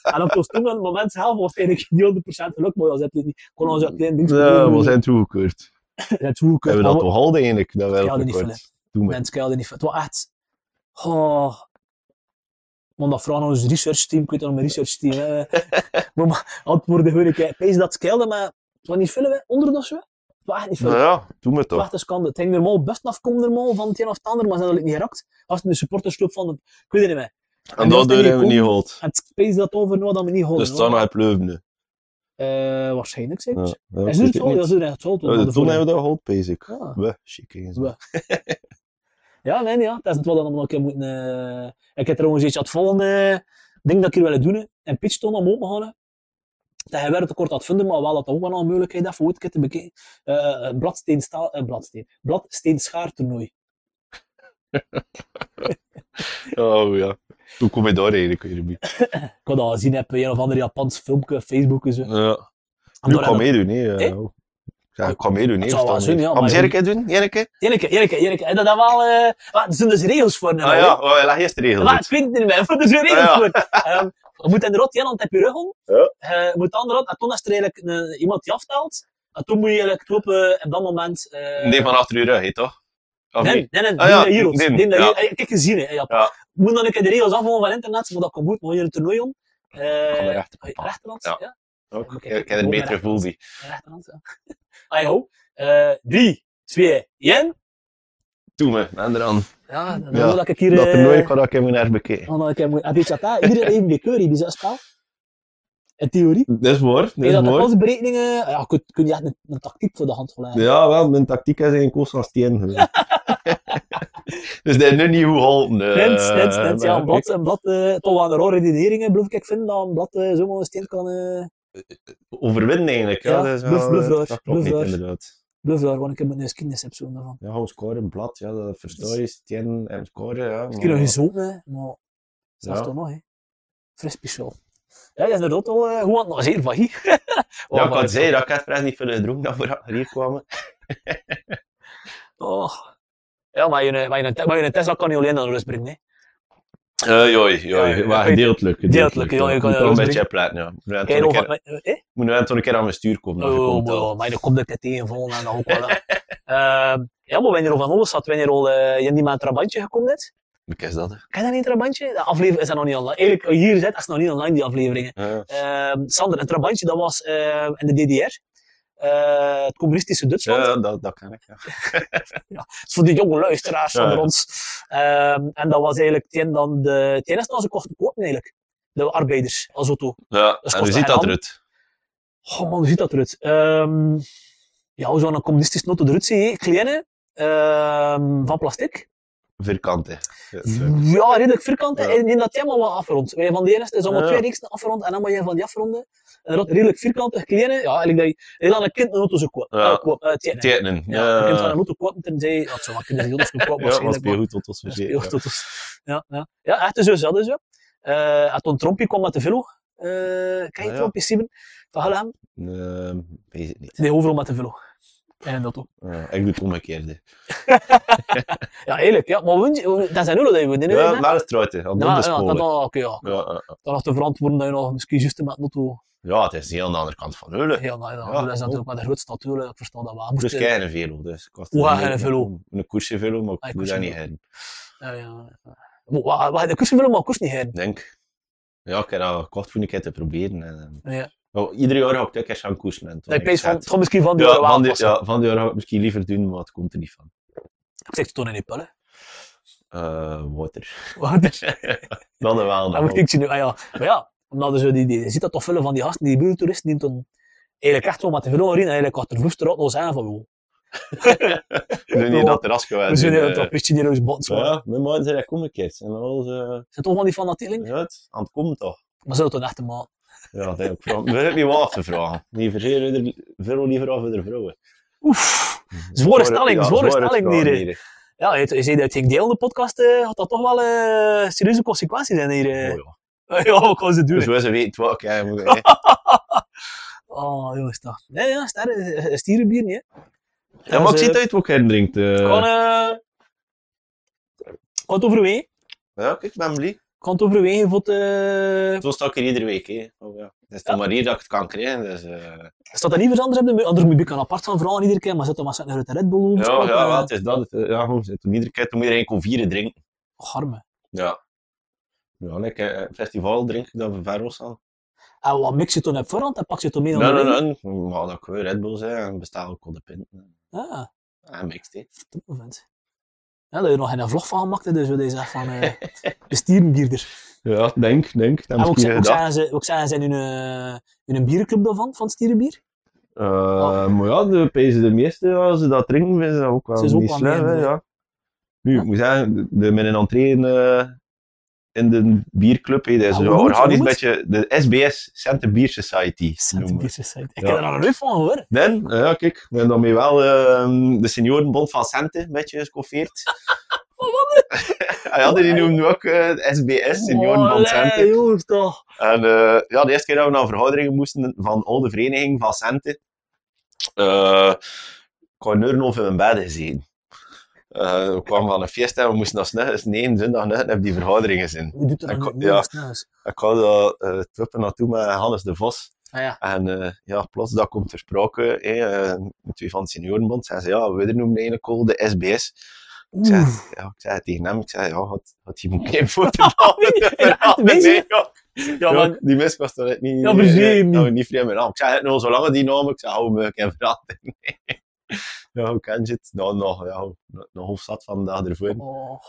En op ons toen, aan het moment zelf, was het eigenlijk niet 100% gelukt, maar ja, ze hebben het niet. Kon ons dat klein ding
Ja, we zijn toegekeurd.
Het hoe kut,
Hebben
maar
we dat toch al eigenlijk? Dat
Ik hou er niet
wereldrecord.
van,
Doe maar.
mensen kelden niet van. Het was echt. Oh. Want dat vragen ons research team, ik weet dat mijn research team. Hè. maar, maar antwoorden gewoon ik. Pees dat ze kelden, maar het was niet veel, hè, 100 of zo. wacht niet veel.
Nou ja, doe me toch.
Wacht eens, kan het. Het ging normaal best af, komt normaal van het een of het ander, maar ze hadden het niet geraakt. Als het de supportersclub van het, ik weet het niet meer.
En dat deur hebben we niet gehaald.
En het space dat over nou dat we niet
Dus
horen. Eh,
het staat nog het pleuven nu.
waarschijnlijk
Ja,
zeker.
ja,
Hij
ik
is nu het
weet het
zo, dat
niet.
is nu echt zo.
Ja,
maar de
Toen
vorige-
hebben we dat gehaald, basic.
Ja.
We, chic. hè, zo.
We. Ja, nee, ja. Dat is het wel dat we nog een keer moeten... eh, Ik heb trouwens iets aan het volgende eh, ding dat ik hier wil doen. En pitchton om open te houden. Dat hij wel een tekort had vinden, maar wel dat dat ook wel een mogelijkheid heeft voor ooit een keer te bekijken. Eh, eh, bladsteen, staal, eh, bladsteen. Bladsteen schaartoernooi.
Oh ja. Toen kom je daar eigenlijk weer bij.
Ik had dat gezien heb, een of ander Japans filmpje, Facebook en zo.
Ja.
En
Nu
door
kan
dat-
meedoen, hè.
Eh?
eh, oh. Ik zeg, ik kan meedoen, hè.
Dat zou wel
of dan
zin,
niet.
ja,
Gaan we
maar-
eens een keer doen, Jenneke?
Jenneke, Jenneke, Jenneke. En dat dat wel... eh, maar er zijn dus regels voor. hè,
Ah
hè?
ja, oh, ja, leg eerst de regels
Maar
uit.
ik weet het niet meer. Er zijn regels
Ah, ja.
voor. Ehm, je moet in de rot hand heb je rug om.
Ja.
Je moet de andere rot. En toen is er eigenlijk eh, iemand die aftelt. En toen moet je eigenlijk roepen op dat moment... eh,
Nee, van achter uur rug, hè, toch? Of
Nee,
niet?
nee, nee,
Ah,
die
ja,
naar hier ons.
die,
Die naar
ja.
hier- eh, Kijk, gezien, hè, Japan.
Ja.
Je Moet dan een keer de regels afhouden van internet, maar dat komt goed. Moet je een toernooi om. Eh,
Van de rechterkant.
rechterhand,
Ja.
ja.
Ook.
Oké,
Ik heb er
ook
beter
maar-
gevoel bij.
Rechterhand, ja. Ah, joh. Eh, Drie, twee, één.
Doe me, en eraan.
Ja, dan
Ja,
wil ik hier...
Dat
eh,
toernooi kan ik even naar bekijken.
Oh, dan kan je- heb je het daar? Iedereen heeft een keurie bij zo'n spel. In theorie.
Dat is waar, dat
Nee,
is
dat de
waar.
kansberekeningen, ja, kun, kun je echt een, een tactiek voor de hand leggen.
Ja, wel, mijn tactiek is in koos van steen geweest. dus dat is nu niet hoe geholpen.
Nens, nens,
eh,
nens, ja, een
maar
blad, een blad eh, toch wel een rare redeneringen, blijf ik vinden, dat een blad eh, zomaar een steen kan, eh
Overwinnen eigenlijk. Ja,
Ja,
dat is wel,
bluf, bluf,
eh,
raar,
dat klopt
bluf,
niet,
raar.
inderdaad.
blijf daar gewoon een keer met een geschiedenis heb zo daarvan.
Ja, gewoon scoren, blad, ja, dat versta je. Steen en scoren, ja.
Misschien nog
maar-
gezopen, hè, maar dat is
Oh. Ja.
toch nog, hè. Fris speciaal. Ja, dat is inderdaad al, eh, hoe aan het nog zeer van hier.
Ja, ik
maar-
had zeggen, dat ik echt vrij niet veel gedronken dat we hier kwamen.
Oh. Ja, maar je, maar, je, maar je Tesla kan niet alleen naar rust brengen, hè.
Eh, joi,
Ja, ja,
joi. Maar
ja.
gedeeltelijk.
Gedeeltelijk, ja, je kan
Moet
je
wel een
wel
beetje platen, ja. Moet net
Kijk,
wel een
of
keer-
wat, eh?
Moet net wel een keer aan mijn stuur komen. als je
Oh,
komt, eh,
maar,
ja.
ja, maar dan komt het tegenvallen en dan ook wel. Eh, ja, maar wanneer al van alles zat, wanneer al eh, je die met een trabantje gekomen net.
Wat is dat, hè?
Ken je dat niet, trabantje? De aflevering is dat nog niet online. Eigenlijk, hier zit, is nog niet online, die afleveringen.
Ja.
Ehm, Sander, een trabantje, dat was eh, in de DDR. Eh, het communistische Duitsland.
Ja, dat, dat kan ik, ja.
Dat is voor de jonge luisteraars
Ja,
onder
ja.
ons. Ehm, en dat was eigenlijk tegen dan de, het eerste dat ze kochten kopen eigenlijk. De arbeiders, als auto.
Ja,
Dus
en
kost
je ziet
hij
dat
dan?
eruit.
Goh man, hoe ziet dat eruit? Ehm ja, hoe zou een communistisch noten eruit zien? hè? Kleine, ehm, van plastic.
Vierkant, hè. Ja, zo.
Ja, redelijk vierkant.
Ja.
En in dat thema wel afgerond. Wij van de eerste is allemaal
Ja.
twee reeksen afgerond en dan moet je van die afronden. En dat redelijk vierkantig kleine. Ja, eigenlijk dat je heel aan een kind een auto zou kopen.
Ja.
Eh, koop, eh, tekenen.
Tekenen.
Ja, je kunt van
Ja,
een auto kopen tenzij... Dat zou wel kunnen, die auto's kunnen kopen
ja maar
waarschijnlijk. maar-
speel goed tot ons
ja,
verzekeren.
speelgoed, dat is- Ja, ja. ja, echt zo, dat is zo. Eh en toen Trompie kwam met de Velo. eh ken je
Ah, ja.
Trompie, Simon? Van Hallam?
Ehm, Weet het niet.
Nee, overal met de Velo. En een auto.
Ja, ik doe het omgekeerde.
Ja, eerlijk, ja. Maar woont je- woont- dat zijn nul dat je woont, hè, nu, hè?
Ja, naar het truiten, aan de
ja, ja, dat,
onderspolen.
dat- oké, ja.
Ja, ja, ja.
Dan nog te verantwoorden dat je nog misschien juist met een auto...
Ja, het is heel aan de andere kant van Heulen.
Heel, nou, ja,
Ja,
dat is natuurlijk wel de grootste natuurlijk, ik versta dat wel. Moest,
Dus
eh,
kijk een velo. Dus ik kost
Hoe
het
ga je
niet.
een velo?
Een koersje velo, maar
Ah,
ik
een
doe dat
koersje
niet heen.
ja, ja. Maar wa- wa- De koers willen, maar koers niet heen.
Ik Denk. Ja, ik heb dat gekocht voor een keer te proberen. En,
Ja.
eh, oh, ieder jaar ga ik toch een keer gaan koersen. En toen
Dat ik
denk
pees van,
zet-
het gaat misschien van die
ja,
jaren wel
van die,
passen.
ja, van die jaar ga ik het misschien liever doen, maar het komt er niet van.
Ik zeg het toen in die pullen.
Eh, water.
Want
Dan wel.
Dan
Dan
moet ik ze nu, ah ja. Maar ja, omdat er zo die, die, je ziet dat toch veel van die gasten, die buurtoeristen, die toen eigenlijk echt wel met de velo erin, eigenlijk had er vroegste rot nog zijn van, joh,
Nu niet dat terras geweest.
we zijn
in,
hier een
eh,
trappistje die roos botten. Zijn
Ja, mijn moeder zei dat kom ik eens. En dan was
toch van die fanatieling?
ze uit, aan het komen toch.
Maar zo toen echt een man.
Ja, dat heb ik vragen. We hebben niet wat af te vragen. Die verzeren er veel liever af voor de vrouwen.
Oef, zware stelling,
Mhm. ja,
zware stelling
vragen
hier. hè. Ja, je, je zei dat ik deel in de podcast, eh, had dat toch wel eh, serieuze consequenties zijn hier. eh.
Oh, ja.
ja, wat kan ze doen?
Dus
hè?
wij ze weten wat ik hè, moet- hè.
Oh, jongens, toch. Nee, ja, sterren, stierenbier niet,
Eh.
hè.
Ja, maar ik
Dus,
zie
eh,
het uit wat hij drinkt. eh.
Gewoon, eh, Gewoon het overwegen.
Ja, kijk, ik ben blij.
Gewoon het overwegen voor het... eh,
Zo sta ik hier iedere week. Hè. Oh, ja. Het is de
Ja.
manier dat ik het kan krijgen. Dus, eh,
Staat er niet iets anders op de Anders moet ik kan apart van verhalen iedere keer, maar zet dan maar een grote Red Bull over.
ja, ja, wel, het is dat. Het, eh, ja, gewoon, het- iedere keer moet je één vieren drinken.
Harme.
Ja. Ja, lekker. eh, Festival drink ik dat we ver aan.
En wat mix je toen op voorhand en pak je toen mee naar
Nee,
de
nee,
ring?
nee. We hadden ook weer Red Bull zijn en bestaan ook al de pinten.
Ah,
En mixed, hè.
verdomme vent. Ja, dat je nog geen vlog van maakte, dus we deze echt van eh de stierenbierder.
Ja, denk, denk. Dat
En
heb
ook
ik hier
zijn, ook
gedacht.
zijn ze, ook zijn ze in hun, in hun bierclub daarvan, van het stierenbier?
Eh,
Oh.
Maar ja, de, pezen de meeste, als ze dat drinken, vinden ze dat ook wel
Ze is ook
niet
wel
slecht. hè,
minder,
Ja. Nu, ik moet zeggen, de- de, met een entree in, eh, in de bierclub, hè, dat is
Ja,
zo
hoe noemt-
organisch
hoe
een
noemt-
beetje de SBS, Center Beer Society. noemen we.
Centenbier Society. Ik
Ja.
heb er nog een ruf van hoor.
Dan, eh, ja, kijk, we hebben daarmee wel eh, de seniorenbond van Centen een beetje gescoffeerd.
Oh,
Wat ja, die noemden we ook eh, de SBS, seniorenbond Centen.
Olé, joh, toch.
En eh, ja, de eerste keer dat we naar verhoudingen moesten van oude vereniging van Centen, eh ik had een uur en een half in mijn bed gezeten. Eh, we kwamen van een feest en we moesten dat snel, nee, zondag net heb die verhoudingen in.
Wie doet er
Ik
nog
kon-
een
ja.
ja. thuis?
Ik had dat eh twippen naartoe met Hannes de Vos.
Ah ja.
En eh, ja, plots, dat komt ter sprake. hè, eh, twee van het seniorenbond zeiden ze, ja, we noemen eigenlijk al de SBS. Ik zei,
Oeh.
ja, ik zei het tegen hem, ik zei, ja, had, had je moet geen foto van
Ja,
de verhalen,
weet je?
nee, ja. Ja,
maar-
maar die mis was toch net niet...
Ja, maar
eh,
zie je
eh,
niet.
nou, niet vreemd mijn naam. Ik zei, het nou, zolang het die naam, ik zei, hou me, ik heb veranderd. Ja, hoe kan je het? Nou, nog, ja, nog- nog hoofdstad van de dag ervoor.
Oh.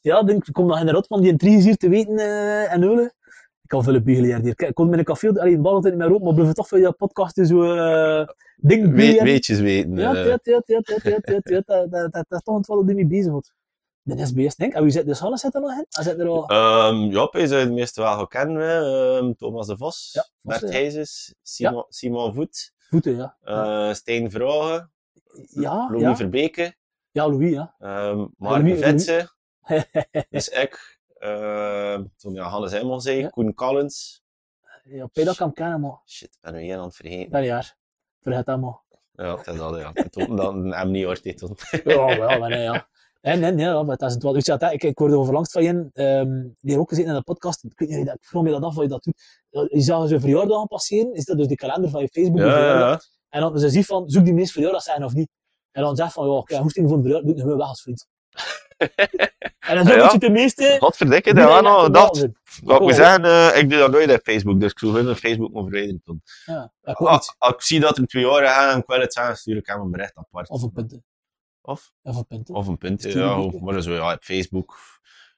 Ja, ik denk, ik kom nog in de rot van die intriges hier te weten eh, en huilen. Ik kan veel biegelen hier. Kijk, Ik kon met een café, alleen de bal altijd niet meer op, maar blijf toch van dat podcast is zo eh ding
We,
biegelen.
weetjes weten.
Ja,
eh.
ja, ja, ja, ja, ja, ja, ja, dat, dat, dat, dat is toch een twaalf die mee bezig wordt. De SBS, denk ik. En wie zit dus Hannes zit er nog in? Hij zit er al...
Ehm, ja, je zou het meeste wel gaan kennen. hè. Ehm, Thomas de Vos,
Ja, Vos,
Bert
ja.
Heijzes, Simon, Simon Voet,
Voeten, ja.
eh, Stijn Vragen,
Ja,
Lome
ja.
Verbeke,
Ja, Louis, ja.
ehm
Louis-
Mark
Louis-
Vetsen, dus ik, ehm, toen ja, Hannes Heijmans zei,
Ja.
Koen Collins.
Ja, Pedak kan kennen, maar...
Shit, ik ben er één aan het vergeten.
Dat jaar. Vergeet dat maar.
Ja, dat is dat, ja. Tot, dan hem niet hoort dit toen.
Ja, wel, maar nee, ja. En, en, ja, maar dat is het wel. Weet je wat, hè, ik, ik hoorde over langs van je, ehm die heeft ook gezeten in de podcast. Ik weet niet, dat- ik vroeg me dat af, wat je dat doet. Ja, Je zag zijn verjaardag aan passeren, is dat dus de kalender van je Facebook? je verjaardag? En dan ze ziet van, zoek die meest verjaardag zijn of niet. En dan zegt van, ja, ik heb hoesting voor een verjaardag, doe het gewoon weg als vriend. en dan zo
Ja, ja.
moet je de meeste...
Godverdikke,
die
dat
daar
had al
echt
gedacht.
op
Wat ik moet
Cool.
zeggen, eh, ik doe dat nooit op Facebook, dus ik zou hun Facebook moeten verwijderen toen.
Ja, ja, ik hoor
Als
niet.
ik zie dat er twee jaren gaan en ik wil het zeggen, stuur ik hem een bericht apart.
Of een punt.
Of,
Of een punt.
of een punt,
Stuur
ja.
een
of-
bericht.
Maar zo, ja, op Facebook.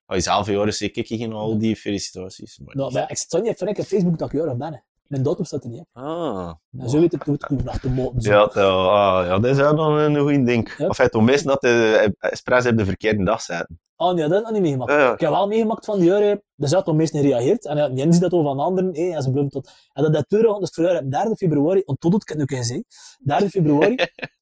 Als je zelf jaren zie ik geen al die felicitaties. Maar
Nou, maar ik sta niet even op Facebook dat ik jarig ben. hè. Mijn datum staat er niet. op.
Ah.
En zo weet ik hoe het komt naar de moten. zo.
Ja, dat, ah, ja, dat is wel nog een goed ding.
Ja.
Of hij toen mis dat de expres op de verkeerde dag zetten.
Oh nee, dat heb ik nog niet meegemaakt.
Ja, ja.
Ik heb wel meegemaakt van die jaren, er zat toch meestal gereageerd. En ja, die ziet dat over van anderen, hé, en ze blijven tot... En dat dat deur, dus vorig jaar, op 3 februari, onttot het, kan ik nu zeggen, 3 februari.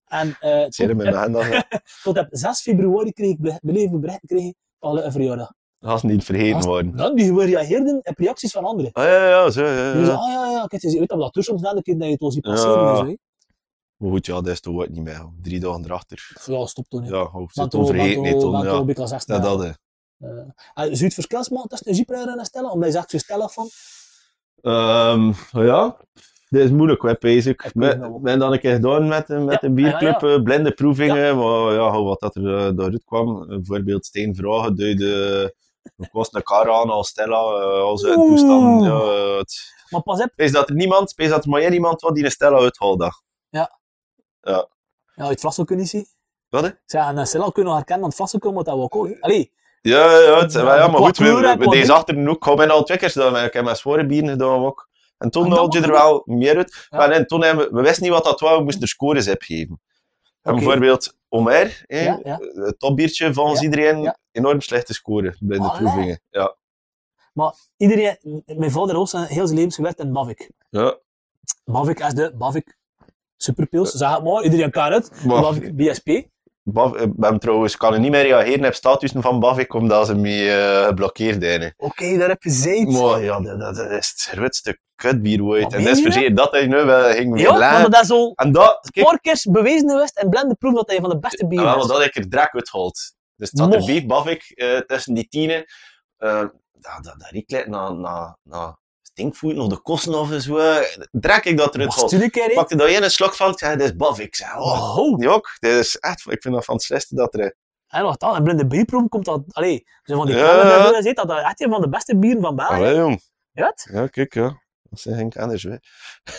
en eh
Zie je
tot,
hem in de hand, dat-
tot op 6 februari kreeg ik be- beleefd een bericht gekregen van alle een verjaardag.
dat is niet vergeten
Als-
worden.
Dan die gewoon reageerden op reacties van anderen.
Ah, ja, ja, zo. ja,
Die
ja.
zeiden, ah ja, ja, kijk, je weet dat we dat toen soms na de keer dat je het al ziet passeren
Ja.
en zo, hè.
Maar goed, ja, dat is toch ook niet meer. Drie dagen erachter.
Pff, Ja, stop toen, hè. oh,
Ja, hoofd
Maar
zit
toen, maar
overheen.
toen,
Nee,
maar
toen,
toen
ja.
heb oh, ik al zes
Dat,
dagen.
dat, hè.
Eh, en Zou je het verschil maken tussen een jeeprijder en een stella? Omdat je zegt, zo'n stella van...
Ehm, ja, dit is moeilijk, hè, basic.
Ik
Ik
weet het wel.
ben dan een keer gedaan met, de- met
Ja,
de bierclub,
ja,
eh, blinde proevingen, maar ja, gewoon wat dat er eh, daaruit kwam. Eh, Bijvoorbeeld Steen Vragen duidde een kost een kar aan als Stella, eh, als uit toestand.
Oeh.
Ja, eh, het-
Maar pas op,
Wees dat er niemand, wees dat er maar één iemand wat die een Stella uithaalt. dan.
ja, het vlas ook niet zien.
Wat, hè?
Zeg, en Silla kunnen we herkennen, want vast komen moet dat wel cool. Allee,
Ja, ja, het, maar, ja, maar
Qua
goed, we,
kleur en
we- we
qua
deze
ding.
achter ook. Ik ben al twee keer gedaan, maar ik heb mijn zware bieren gedaan ook. En toen
Ah, dat
haalde je
mag
er
ook.
wel meer uit.
Ja.
Maar en toen hebben we, we wisten niet wat dat was, we moesten er scores op geven. En
Oké.
bijvoorbeeld Omer, hè,
Ja, ja.
het topbiertje volgens
Ja,
iedereen,
ja.
enorm slechte score bij de
Allee.
proevingen. Ja.
iedereen, mijn vader heeft zijn heel zijn leven gewerkt in Mavic.
Ja,
Mavic is de Mavic Superpils, zeg het maar, iedereen kan het.
maar
Mavic BSP.
Baf, ik ben trouwens, kan er niet meer reageren op statussen van Bavik, omdat ze mee eh, geblokkeerd zijn.
Oké, daar heb je zeet.
Maar ja, dat, dat dat is het grootste kutbier ooit.
Wat
En dat is
meen je?
verzeer dat hij nu wel ging
Ja,
verlaten.
want dat is al
En dat, kijk,
porkers bewezen geweest en blende proef dat hij van de beste bier
Ja,
is.
want Ah, dat ik er drak uithold. Dus het zat
Moch.
erbij, baf ik, eh, tussen die tienen. eh dat, dat, dat riekt like naar, naar, naar stinkvoet, nog de kosten of zo. Drak ik dat eruit
was
gold.
toen een keer,
Ik
hè.
pakte daar één slok van, ik zei, dit is baf ik. Ik zei, oh,
Oh,
die ook. Dit is echt, ik vind dat van het slechtste dat er...
en wat Ah, dan? En blinde bierproef komt dat, allee, zo van die
Ja,
ja,
ja.
zeet dat dat echt een van de beste bieren van België.
Allee, Ah, jong.
Ja, het?
Ja, kijk, ja. Dat zijn geen kenners, hè.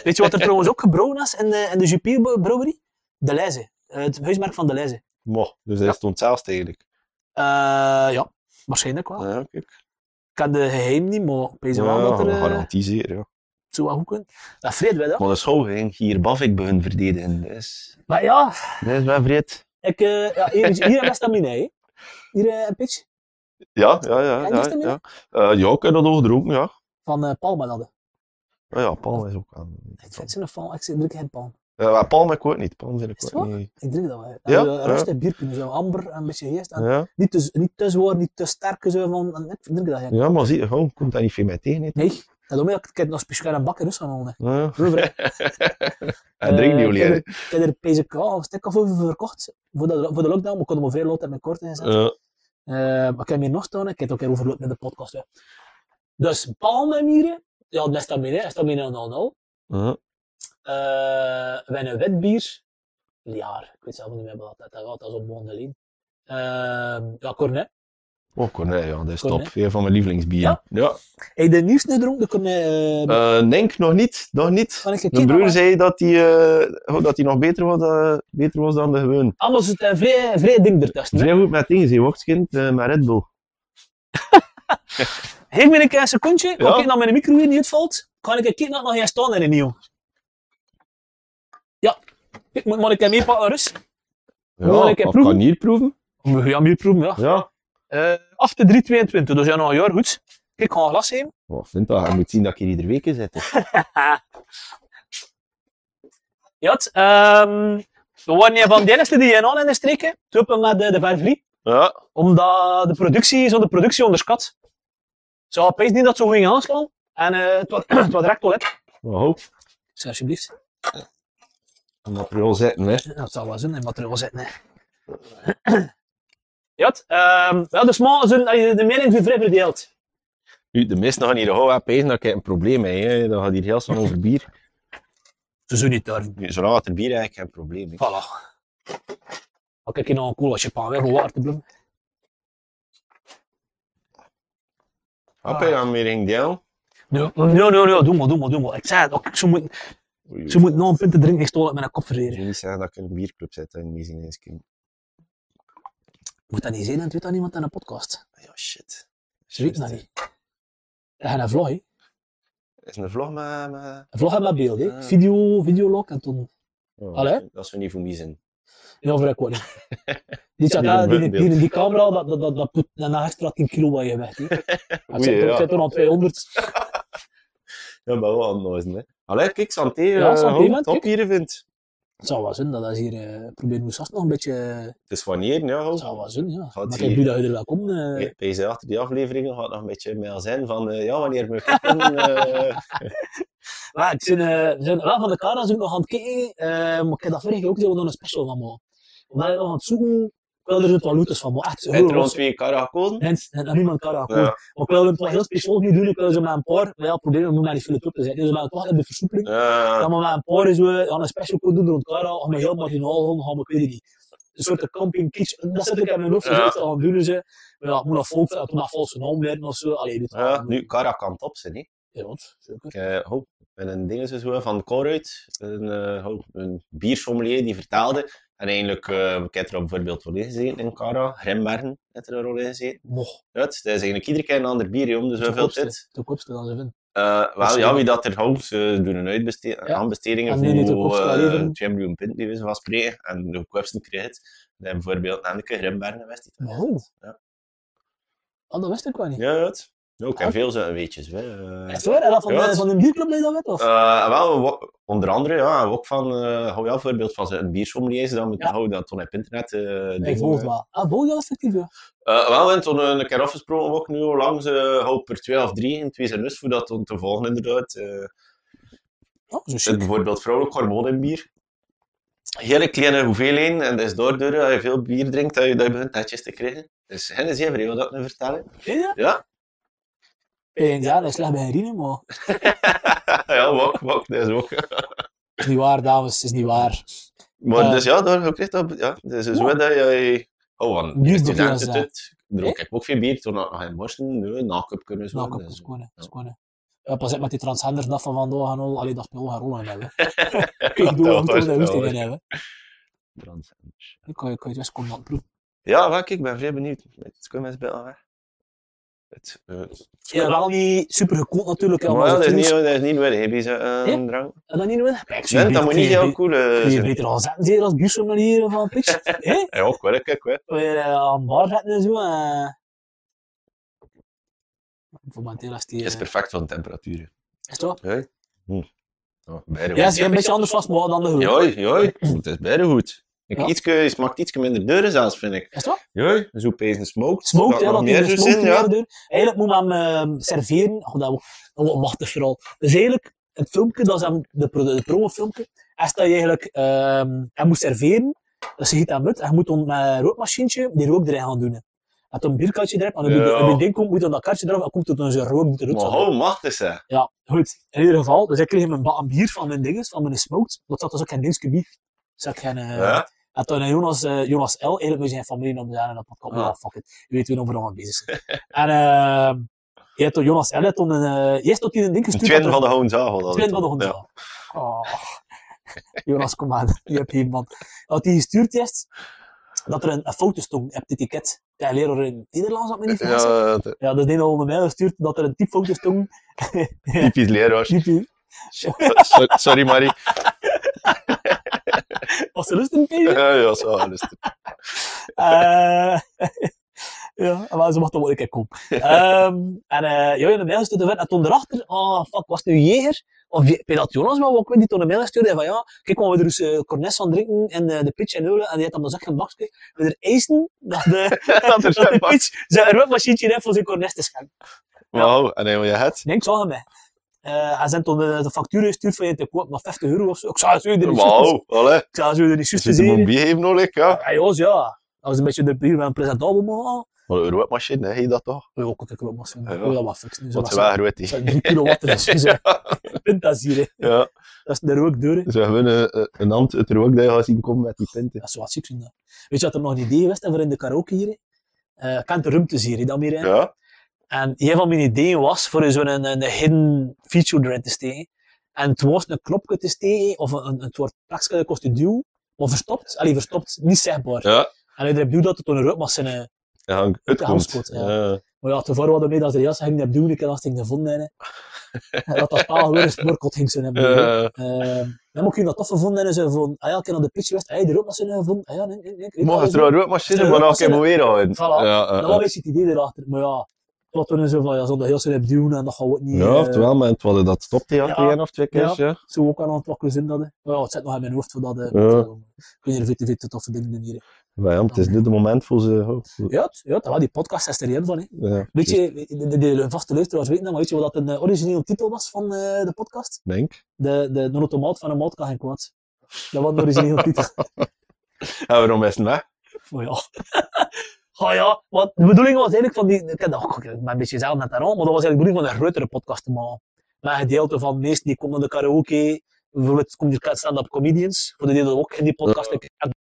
Weet je wat er trouwens ook gebrouwen is in de, in de Jupiler Brouwery? De Leize. Eh, Het huismerk van De Leize.
Mo, dus hij stond zelfs eigenlijk.
Eh, ja, waarschijnlijk wel.
Ja, kijk.
Ik had de geheim niet, maar ik weet wel dat er
Ja,
eh,
garantie zeer, ja.
het zou wel goed kunnen. Dat vreed wij dat.
Maar de school ging hier Bavik begin verdedigen. Dat is,
Maar ja,
dat is wel vreed.
ik, eh, ja hier, is- hier in Westamine, hè. Hier eh, een pitch
Ja, ja, ja.
Ken je
Ja,
ze
ja. Eh ja, ik heb dat ook gedronken, ja. Ah
van eh, Palma dat.
Ja, ja, palm is ook aan.
Ik vind zo'n palm, ik drink geen palm.
Ja, palm ik ook niet. Palm vind
Is
ik
het
ook
waar?
niet.
Ik drink dat wel. hè.
Ja?
En, eh,
Ja.
Rustig bier kunnen, zo amber en een beetje geest. En
Ja.
niet, te, niet te zwaar, niet te sterk. Zo, van, en ik drink dat eigenlijk.
ja, maar zie je, gewoon komt daar niet veel mee tegen. hè.
Nee, dat doe ik. Ik heb nog speciaal een bak in Rusland al.
Ja.
Vroeger,
En drink Eh, die
Ik
olie
heb
uit.
er- ik heb er PZK een stuk of over verkocht. Voor, dat, voor de lockdown, we konden maar vrij lot en mijn kort inzetten.
Ja.
Eh, maar ik heb hem hier nog staan, ik heb het ook overlopen met de podcast. Hè. Dus palmemieren, ja, dat is dan binnen, is dan binnen 0
Ja.
Eh Wij een wit bier, Liaar, ik weet zelf niet meer wat dat dat gaat, dat is op Bondelin. Ehm ja, Cornet.
Oh, Cornet, ja, dat is
Cornet.
top. Een van mijn lievelingsbieren.
Ja?
Ja.
Heb je de nieuwste dronk, de Cornet? eh,
Eh, Denk nog niet, nog niet.
kan ik een
Mijn
keer
broer
nog-
zei dat hij eh, oh, dat hij nog beter was, eh, beter was dan de gewone.
Anders is het een vrij, vrij ding ertussen. hè.
Vrij goed met dingen, zei Wochtskind, eh, met Red
Oh,
Bull.
Geef me een keer een secondje,
Ja.
kan ik naar mijn micro hier die uitvalt, kan ik een keer nog eens staan in een nieuw. Ja, ik moet maar een keer meepakken, Rus. Wil ik een
of
proeven?
kan hier proeven.
Ja, meeproeven, ja.
Ja.
Eh af de 3,22, dus ja, nog een jaar goed. Kijk, ik ga een glas heen.
Oh, vindt dat, hij moet zien dat ik hier iedere week in zit.
Ja, het, ehm, we waren een van de eerste die in aan in de streken, toepen met de, de vervlie,
Ja.
omdat de productie, zo de productie onderschat. Ze hadden opeens niet dat ze ging aanslaan, en eh, het, was, het was direct toilet.
Maar Oh, hoop.
Zeg, alsjeblieft.
En dat prul zetten, hè.
Dat zal wel zijn, in materiaal zitten. hè. Ja, het, ehm, ja, dus maar zijn, allee, de mening van vrij verdeeld.
Nu, de meesten gaan hier gewoon aan pezen dat ik een probleem heb. Hè. Dat gaat hier heel snel over bier.
Ze zullen niet durven.
Nu, zolang het er bier eigenlijk geen probleem hè.
Voilà. Maar kijk hier nog een cool als je pan weg om water te blijven.
Hap, je dan weer ging deel?
Nee, nee, nee, nee, doe maar, doe maar, doe maar. Ik zei het ook, ze moeten,
Oei,
ze moeten nog een punt te drinken, ik stoel het met een kop
Ik
verreren.
wil niet zeggen dat ik in een bierclub zit in Mezingijsking.
Moet dat niet zijn, dan doet dat niemand aan een podcast.
Ah, Ja, shit.
Ze weten dat niet. We gaan een vlog, hè.
Is een vlog maar. maar...
Een vlog hebben we beeld,
Ah.
hè. Video, videolog en toen...
Oh,
Allee?
dat is- Dat is we niet voor mij zijn.
Ja, voor ik ook niet. Die zat
Ja,
daar,
die
die, die,
beeld.
die, die camera, dat, dat, dat, dat put een extra 10 kilo bij je weg, hè. Het
Oei,
zit er-
ja.
het zit er al 200.
Ja, maar wel anders, hè. Allee, kijk, Santé.
Ja,
eh,
Santé,
hoe
man,
Top
kijk.
hier vindt.
Het zou wel zijn, dat is hier... eh probeer nu straks nog een beetje... Het
Het is van hier, ja. hoe?
zou wel zijn, ja.
Gaat
Maar
hier-
ik doe dat je er wel komt. eh.
Ja, Bij ze achter die afleveringen gaat nog een beetje mail zijn van eh, ja, wanneer we kijken. eh,
Maar ik zijn, eh, zijn wel van de Kara zoek nog aan het kijken, eh, maar ik heb dat vorige keer ook gezien, we doen een special van maken. Omdat ik nog aan het zoeken, ik wil er zo wat looters van maken. Echt,
Heeft
heel
er ons
los.
twee karren gekozen?
Mensen, en en niemand Kara goed.
Ja.
Maar ik wil er wat heel speciaal nu doen, ik wil zo met een paar, wel proberen om nu naar die file toe te zetten. Dus we gaan toch in de versoepeling.
Eh,
Dan gaan we met een paar zo, ja, een special kunnen doen rond Kara, of met heel marginaal rond, gaan we, ik weet het niet. Een soort camping kitsch, dat zit ik in mijn hoofd,
Ja.
ja. dat gaan doen ze. Maar ja, het moet nog volk zijn, het moet nog valse naam werden of zo. Allee, dit
ja, nu, Kara kan top zijn, hè.
Ja, want, zeker.
Ik eh, hoop, met een ding is zo van Koruit, een, eh, hoop, een biersommelier die vertaalde. En eigenlijk, eh ik heb er bijvoorbeeld voor ingezeten in Kara, Grimbergen heeft er een rol in gezeten.
Nog,
Ja, het is eigenlijk iedere keer een ander bier, joh, dus
de
hoeveel
kopste,
zit.
de kopste dan ze vinden.
Eh wel, ja,
Misschien.
wie dat er houdt, ze doen een uitbeste- aanbestedingen
En die niet de
voor
koopste
eh
leveren.
2 miljoen pint, die we zo spreken. En de goedkoopste krijgt het. Dan bijvoorbeeld Nanneke Grimbergen wist die dat.
Oh.
Ja.
Oh, dat wist ik wel niet.
Ja, het. Ja, ik heb
Ah.
veel zo'n weetjes. hè. Eh,
Echt waar? En dat van,
Ja,
de
het-
van een bierclub dat je dat weet? Of?
eh, wel, wo- onder andere, ja, ook van, eh hou je bijvoorbeeld van een biersommelier, dan moet
Ja.
hou dat toen op internet. eh
ik
dingen,
volg het
eh.
wel. Ah, volg je dat effectief? Ja.
Eh, wel, we hebben toen een keer afgesproken, ook nu langs, eh hou per twee of drie in twee zijn lust, dus voor dat toen te volgen inderdaad. eh.
Oh, zo
Er zit
shit.
bijvoorbeeld vrouwelijk hormoon in bier. Hele kleine hoeveelheden, en dat is doorduren als je veel bier drinkt, dat je, dat je begint tatjes te krijgen. Dus hen is even wat dat nu vertellen.
Ja?
Ja.
En ja, dat is slecht bij Irene, maar
ja, wok, wok, dat is ook.
het is niet waar, dames, het is niet waar.
Maar
Eh.
dus ja, daar, je krijgt dat, ja, dus is
Ja.
wat dat jij... Oh, want
Bierproeven
studenten
is dat.
doet, dronk ik ook veel bier, toen had ik nog in morsen, nu een nakup kunnen zo.
Nou, ik heb
dus-
het gewoon, hè. Het is gewoon, hè. Ja, pas op met die transgenders dat van vandaag en al. Allee, dat speel gaan rollen hebben. ik doe hem toen, dat hoeft hij niet hebben.
Transcenders.
Dan kan je, kan je het komen aan proeven.
Ja, wel, kijk, ik ben vrij benieuwd. Het komt best wel weg. Het, eh,
Ja, wel niet super gekoeld natuurlijk. Ja,
maar
maar
dat is,
het
niet,
is-
dat is niet waar Hibbies
Ja?
aan eh, drank.
En dan niet doen? Ja, ik zie
Nee,
je
dat
beter-
moet niet
kun je
heel
be-
cool eh,
kun je
zijn.
beter al zetten, zeer als buursommelier van Pitch. Hé?
Ja, ook wel, kijk wel.
Weer eh, aan bar zetten en zo. eh. Momenteel is die...
Het is
eh,
perfect van temperaturen.
Is het wel?
Ja, hm. oh, beide
Ja,
goed.
ze zijn een beetje anders vastgehouden dan de groep.
Joi, joi, het is beide goed. Ik
Ja.
ietske, het smaakt iets minder deuren zelfs, vind ik.
Is het wel?
Joi, zo pees en smoked.
Smoked,
Dat
ja,
nog
dat
meer
meer
zo
gesmokt
zin,
te
ja.
worden doen. Eigenlijk moet men hem ehm, serveren, oh, dat wordt machtig vooral. Dus eigenlijk, het filmpje, dat is hem, de, pro, de promofilmpje, is dat je eigenlijk ehm hem moet serveren, dus je giet hem uit, en je moet dan met een rookmachientje die rook erin gaan doen. En dan een bierkatje erop, en dan
Ja.
ja. ding komt, moet dan dat kartje eraf, en komt er dan zo'n rook die eruit
Maar
zal.
hoe machtig zeg.
Ja, goed. In ieder geval, dus ik kreeg mijn bak aan bier van mijn dinges, van mijn smoked, want dat was ook geen dingetje bier. Dus ik geen, eh,
Ja?
en toen Jonas, eh, Jonas L, eigenlijk met zijn familie om zijn en dat podcast.
Ah.
Ja, fuck it. Je weet wie nog voor allemaal bezig is. en eh, je hebt toen Jonas L, heeft toen een, eh, eerst tot hij een ding
Een
gestuurd.
tweede
dat
van
er-
de Hohenzaal.
een tweede van de hond.
Ja.
ja. Oh. Jonas, kom aan. Je hebt hier, man. Had hij gestuurd eerst dat er een, een foto stond op het etiket. De leraar in het Nederlands had me niet vergeten. Ja,
Ja, dat-
dat is een onder mij gestuurd dat er een typfoto stond.
typisch leraar.
Typie.
So- Sorry, Marie.
Was er lust in het
Ja, ja, zo, alles.
Eh, ja, maar ze mocht dan wel een keer komen. Ehm, en eh ja, in de mail stuurde vent, en toen erachter, oh fuck, was het nu Jeger? Of je- ik weet dat Jonas wel, ook weet, die toen een mail stuurde van ja, kijk, we er dus eh, cornes van drinken en eh, de pitch en hulen, en die had dan dus ook geen bakje. We er eisen dat de,
Dat er
dat de
zijn bak.
pitch zijn rubmachientje heeft voor zijn cornes te schenken.
Wauw, en hij wil je het?
Niks aan mij. Eh hij zijn toen de, de factuur gestuurd van je te koop, maar 50 euro of zo. Ik zou het zo er niet juist-
Wauw, allee.
ik zou het zo er niet juist
Zit hem een
zien.
bier geven nodig, ja.
Ja, Jos, ja. Dat was een beetje de bier van een presentabel, maar ja.
Maar een roodmachine, hè, heet dat toch?
Ja, ook een klopt, maar
Ja.
ja. dat was fix. Nu. Zo
Want
was
ze waren rood, die.
zo 3 kilowatt is. Dus, eh, Punt dat is hier. hè.
Ja,
Dat is de rookdeur. hè.
ze hebben een, een hand uit de rook dat je gaat zien komen met die pinten.
Dat is wat ziek. vind ik. Weet je wat er nog een idee was hè, voor in de karaoke hier? eh ik kan de ruimtes hier, hè, dan meer.
Ja.
En een van mijn ideeën was voor zo'n een, een hidden feature erin te steken. En het was een knopje te steken, of uh, een, een, een soort plekje dat kost te duw, maar verstopt. Allee, verstopt, niet zegbaar.
Ja,
En ik bedoel dat het een rook was. eh,
ja hang, het
de
komt.
hangskot, ja.
Ja.
Maar ja, tevoren hadden we mee dat ze de jas ging naar doen, ik had dat ding gevonden. hè. En dat dat spaal weer eens morkot ging zijn hebben.
Eh,
Ehm, dan moet ik je dat tof gevonden en zo van, ah ja, ik heb aan de pitch geweest, ah ja, de rood was er gevonden, ah ja, nee, nee, nee, ik weet
Mag
alles
het er een roodmachine, maar dan kan je hem weer houden.
Voilà.
Ja,
niet.
eh,
Dat was een beetje het idee erachter, maar ja, wat toen zo van, ja, zonder heel snel doen en dat gaan we ook niet,
ja,
eh,
oftewel, maar het was dat stoptheater
Ja.
één of twee keer. Ja.
zo ook aan het wakker zin dat, hè. maar ja, het zit nog in mijn hoofd voor dat, eh,
Ja.
zo, kun je er veel te veel te toffe dingen doen hier.
Maar ja, het is nu de moment voor ze. oh, voor-
Ja, het- ja, dat, wel, die podcast is er één van, hè.
Ja, dus
Weet
juist,
je, de, de, de vaste luisteraars weten dat, maar weet je wat dat een eh, origineel titel was van eh, de podcast?
Denk.
De, de, de automaat van een maat kan geen kwaad. Dat was een origineel titel.
En waarom is het weg?
Oh ja. oh ja, want de bedoeling was eigenlijk van die. Ik heb dat ook een beetje zelf net daarom, maar dat was eigenlijk de bedoeling van een grotere podcast te maken. Met een gedeelte van mensen die komen naar de karaoke, bijvoorbeeld kom je stand-up comedians, voor de delen ook in die podcast. Ik- en-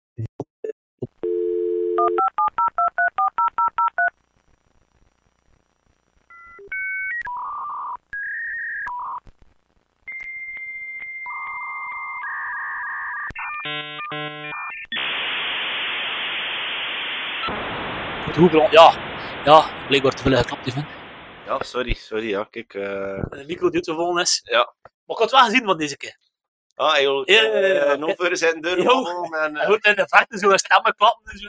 Het hoeklon- Ja, ja, blijkbaar te veel geklapt even.
Ja, sorry, sorry. Ja, kijk. eh,
De micro die te volgen is.
Ja.
Maar ik had het wel gezien van deze keer.
Ah, joh.
Ja, ja, ja, ja.
eh, nog voor zijn deur.
Ja.
gewoon, en,
Hij
eh,
hoort in de verte zo'n stemmen klappen en zo.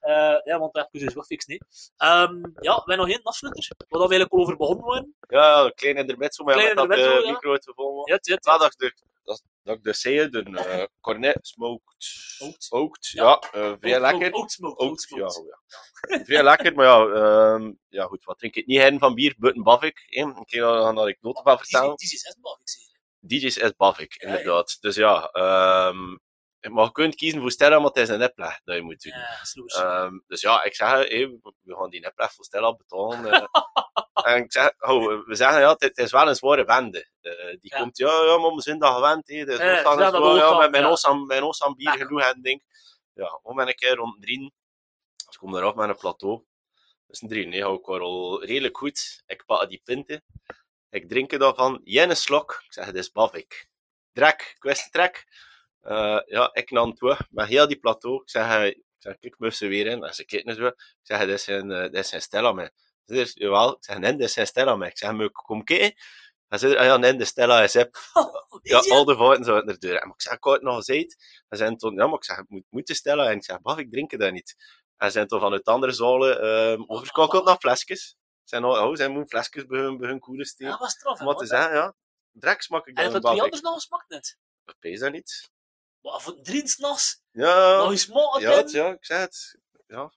Eh, ja, want dat is dus wel fix, nee. Ehm, ja, we hebben nog één afsluiter, waar we eigenlijk al over begonnen waren.
Ja, ja, klein in de bed zo, maar ja,
Klein
met
in de
dat
bed zo,
eh,
ja.
micro te volgen.
Ja, het- het-
Ja, dat ik de- dat- dat ik dus zei, de eh, cornet smoked.
Smoked.
Smoked,
Ja.
ja. eh, Vrij lekker.
Oatsmoke.
Ook, ja, oh ja. Vrij lekker, maar ja, ehm, ja, goed, wat drink ik niet hen van bier, buiten Bavik. hè. Een keer aan dat ik noten van vertellen.
Die is helemaal niks.
DJ's is Bavik,
Ja, ja.
inderdaad. Dus ja, ehm, maar je kunt kiezen voor Stella, maar het is een nepleg dat je moet doen.
Ja, sloes.
Ehm, dus ja, ik zeg, hé, we we gaan die nepleg voor Stella betalen. eh. en ik zeg, oh, we zeggen, ja, het, het is wel een zware wende. Eh, die
Ja. Eh,
komt, ja, ja, maar we zijn dat gewend, hè. Dus
Ja,
ons dan
ja,
is
dat
wel,
ook
ja,
al,
met mijn
ja.
os aan- mijn os aan bier
Lekker.
genoeg en ding. Ja, om en een keer rond drieën. Dus ik kom eraf met een plateau. Dus een drieën, nee, hou ik wel al redelijk goed. Ik pak die pinten. Ik drink er dan van, jenne slok. Ik zeg, dit is bavik. Drek, ik wist het, trek. Eh, ja, ik nam het weg, met heel die plateau. Ik zeg, eh, ik, zeg, ik moest er weer in. En ze kijken het weer. Ik zeg, dit is een, eh, dit is een stel aan mij. Ze zegt, jawel. Ik zeg, nee, dit is een stel aan mij. Ik zeg, moet ik kom kijken? En ze zegt, ah ja, nee, de Stella is op.
Oh,
Ja, al de fouten zouden er deur. En ik zeg, ik had het nog eens uit. En ze zei toen, ja, maar ik zeg, het moet, moet de Stella. En ik zeg, baf, ik drink dat niet. En ze zijn toen vanuit andere zalen ehm
Oh,
overkakeld naar flesjes. Ze zijn al, oh, ze moeten flesjes bij hun, bij hun koerders steken.
dat was straf.
Om wat te zeggen, ja. Drek smak ik
Ah, En
dan
van
een
twee
baf.
anders nog smaakt net.
Dat pees dat niet.
Maar van drie s'nachts,
Ja,
nog eens smaak.
ja, het- ja, ik zei het. Ja,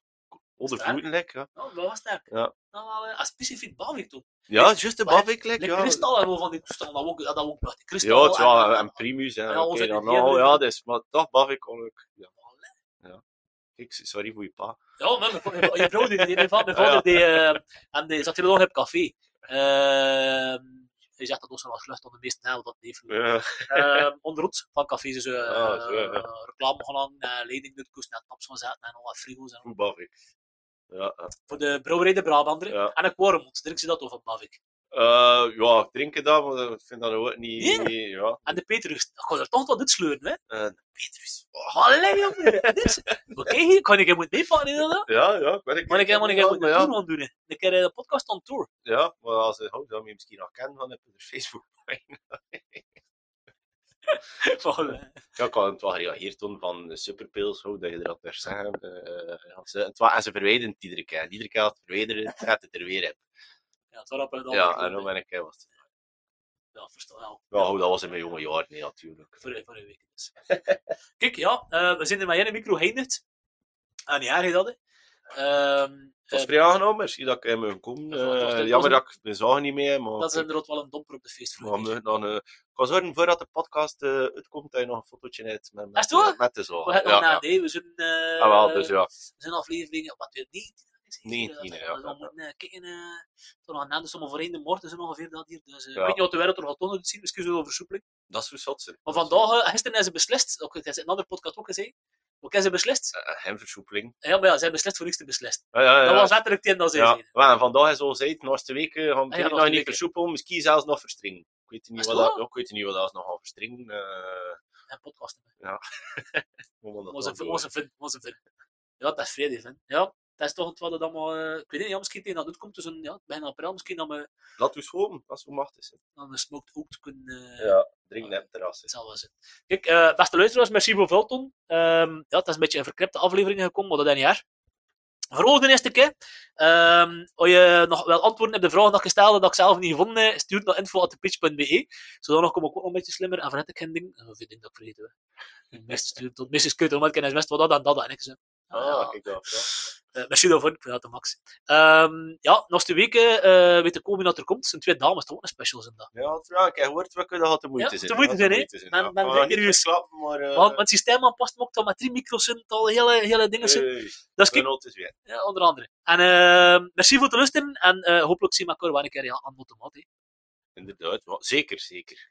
onder
Sterk.
voeten lek, ja.
Oh, dat was sterk.
Ja.
Dan wel eh, een specifiek barbecue toe.
Ja, juist de
Maar het-
baf, lek,
De
ja.
kristal hebben we van die toestand. Dat ook, dat ook nog die kristal. eh,
Ja, het- ja,
en-
en Primus, en
Ja,
oké,
onze
dan,
ideeën
oh,
doen.
ja, dus, maar toch baf ik al leuk. Ja. ja. Ik, sorry voor je pa.
Ja, maar mijn, mijn- je vrouw, die, die, mijn vader, mijn
Ja.
vader die, eh, en die zat hier nog op café. Ehm hij zegt dat ons wel slecht aan de meeste namen dat heeft.
Ja.
Ehm onderhoed van cafés is eh
Ah, zo, ja.
eh, reclame gaan hangen, eh, leiding door het koest naar taps gaan zetten en al wat frigo's. En,
Hoe baf ik? Ja, eh, ja.
voor de brouwerij de Brabander.
Ja.
En ik warm moet, drink ze dat over, Bavik.
Eh, ja, ik drink het dan, maar ik vind dat ook niet...
Ja.
Ja.
En de Petrus, ik ga er toch wat dit sleuren, hè?
Eh,
Petrus, allee jongen, dit is- Oké, hier kan ik hem moet meepakken, inderdaad.
ja, ja, ik weet het
Maar ik
niet,
helemaal niet moet
maar
een
ja,
tour gaan doen. hè. Een keer eh, de podcast on tour.
ja, maar als ik oh, zou je misschien nog kennen van op de Facebook.
Van, eh,
Ja, ik had het wel gereageerd toen van de superpils, hoe dat je dat per zeggen. eh, ja, ze, het wa- en ze verwijderen het iedere keer. Iedere keer als het verwijderen, gaat het er weer in.
ja, het was op en
Ja, en dan ben ik... eh, wat-
Ja, verstaan. Ja,
Ja, hoe dat was in mijn jonge jaren, nee, natuurlijk.
voor, voor een week dus. Kijk, ja, eh, we zijn er maar één micro geëindigd. En ja, je dat, hè. Ehm,
Het was
eh,
vrij aangenomen, merci dat ik hem mocht
Ja,
komen.
het was-
Eh,
het
jammer
was-
dat ik mijn zagen niet meer, maar...
dat is inderdaad wel een domper op de
Maar
feestvloer.
we moeten dan, eh, ik ga zorgen voordat de podcast eh, uitkomt, dat je nog een fotootje uit met, met,
Is het waar?
eh, met de zaal.
We hebben
ja,
nog
ja.
na, nee, we zijn... eh
Ah, wel, dus ja.
We zijn afleveringen, wat eh, weet niet.
Nee,
dat,
nee,
dat,
ja,
we
ja,
moeten eh, kijken. eh, Toen nog aan de sommige voor één de morgen zijn ongeveer dat hier. Dus eh,
Ja.
ik weet niet wat de wereld er gaat onder zien, misschien zullen we versoepeling.
Dat is hoe zot ze.
Maar vandaag, eh, gisteren hebben ze beslist, ook, het is in een andere podcast ook gezegd. Ook hebben ze beslist.
Eh, hemversoepeling.
Ja, maar ja, ze hebben beslist voor niks te beslissen.
Ja, ja, ja.
Dat was letterlijk tegen dat ze
ja.
zeiden.
Ja, en vandaag is al gezegd, naast de week eh, gaan we
Ah, ja,
het
naast
nog
de
niet
week,
versoepelen, misschien zelfs nog verstrengen. Ik weet niet
Is
wat
het
dat,
waar?
ja, ik weet niet wat dat is nog gaan verstrengen. eh,
En podcasten.
hoe moet dat
Was een
dan
vin,
doen?
was een vin, was een vin. Ja, dat is vrede, vin. Ja, dat is toch het wat het allemaal... eh, ik weet niet, ja, misschien tegen dat uitkomt, dus een, ja, bijna april, misschien dat we
Laat ons schoon, dat is hoe machtig is.
dan een smoked ook te kunnen... eh,
Ja, drink net terras.
Het zal wel zijn. Kijk, eh, beste luisteraars, merci voor Vulton. Ehm ja, het is een beetje een verkripte aflevering gekomen, maar dat is niet erg. Voor ons de eerste keer. Ehm als je nog wel antwoorden hebt op de vragen dat ik gesteld heb, dat ik zelf niet gevonden heb, stuur het naar info.pitch.be. Zodanig kom ik ook nog een beetje slimmer en vergeet ik geen ding. Of ik denk dat ik vergeten heb. Het meeste stuurt tot meeste kut, omdat ik best wat dat en dat en ik zo.
Ah, kijk dat. ja.
Eh, merci daarvoor, ik vind dat de max. Ehm ja, nog twee weken eh weet ik komen dat er komt. Er zijn twee dames, toch ook een special zijn dat.
Ja, het raak, hè. hoort we kunnen dat de moeite
Ja,
zijn.
de moeite
hè.
zijn, hè.
zijn,
Men-
ja.
men
We gaan
drinkt
niet
hier juist.
verklappen, maar... eh,
Want, want het systeem aanpast me ook tot met drie micro's en al hele, hele dingen zijn.
hey,
Dat is kijk,
Renault is weer.
ja, onder andere. En eh, merci voor het luisteren en eh, hopelijk zien we elkaar wel een keer ja, aan de automaat. hè.
Inderdaad, ja, zeker, zeker.